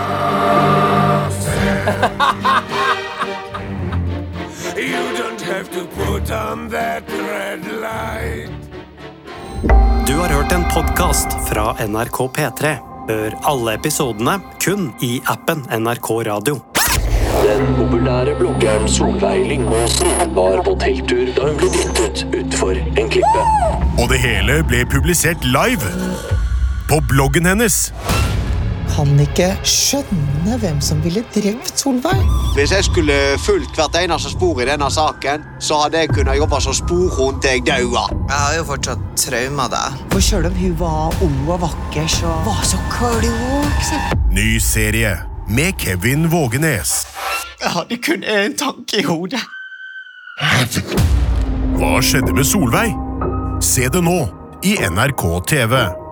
S5: You don't have to put on that red light.
S6: Du har hørt en podkast fra NRK P3. Hør alle episodene kun i appen NRK Radio.
S7: Den populære bloggeren Solveig Lyngåsen var på telttur da hun ble dyttet utfor en klippe.
S8: Og det hele ble publisert live på bloggen hennes.
S9: kan ikke skjønne hvem som ville drept Solveig.
S10: Hvis jeg skulle fulgt hvert eneste spor i denne saken, så hadde jeg kunnet jobbe som sporhund til jeg daua.
S9: Jeg har jo fortsatt trauma der. For selv om hun var ung og vakker, så var hun så klok. så-
S8: Ny serie med Kevin Vågenes.
S9: Jeg hadde kun én tanke i hodet.
S8: Hva skjedde med Solveig? Se det nå i NRK TV.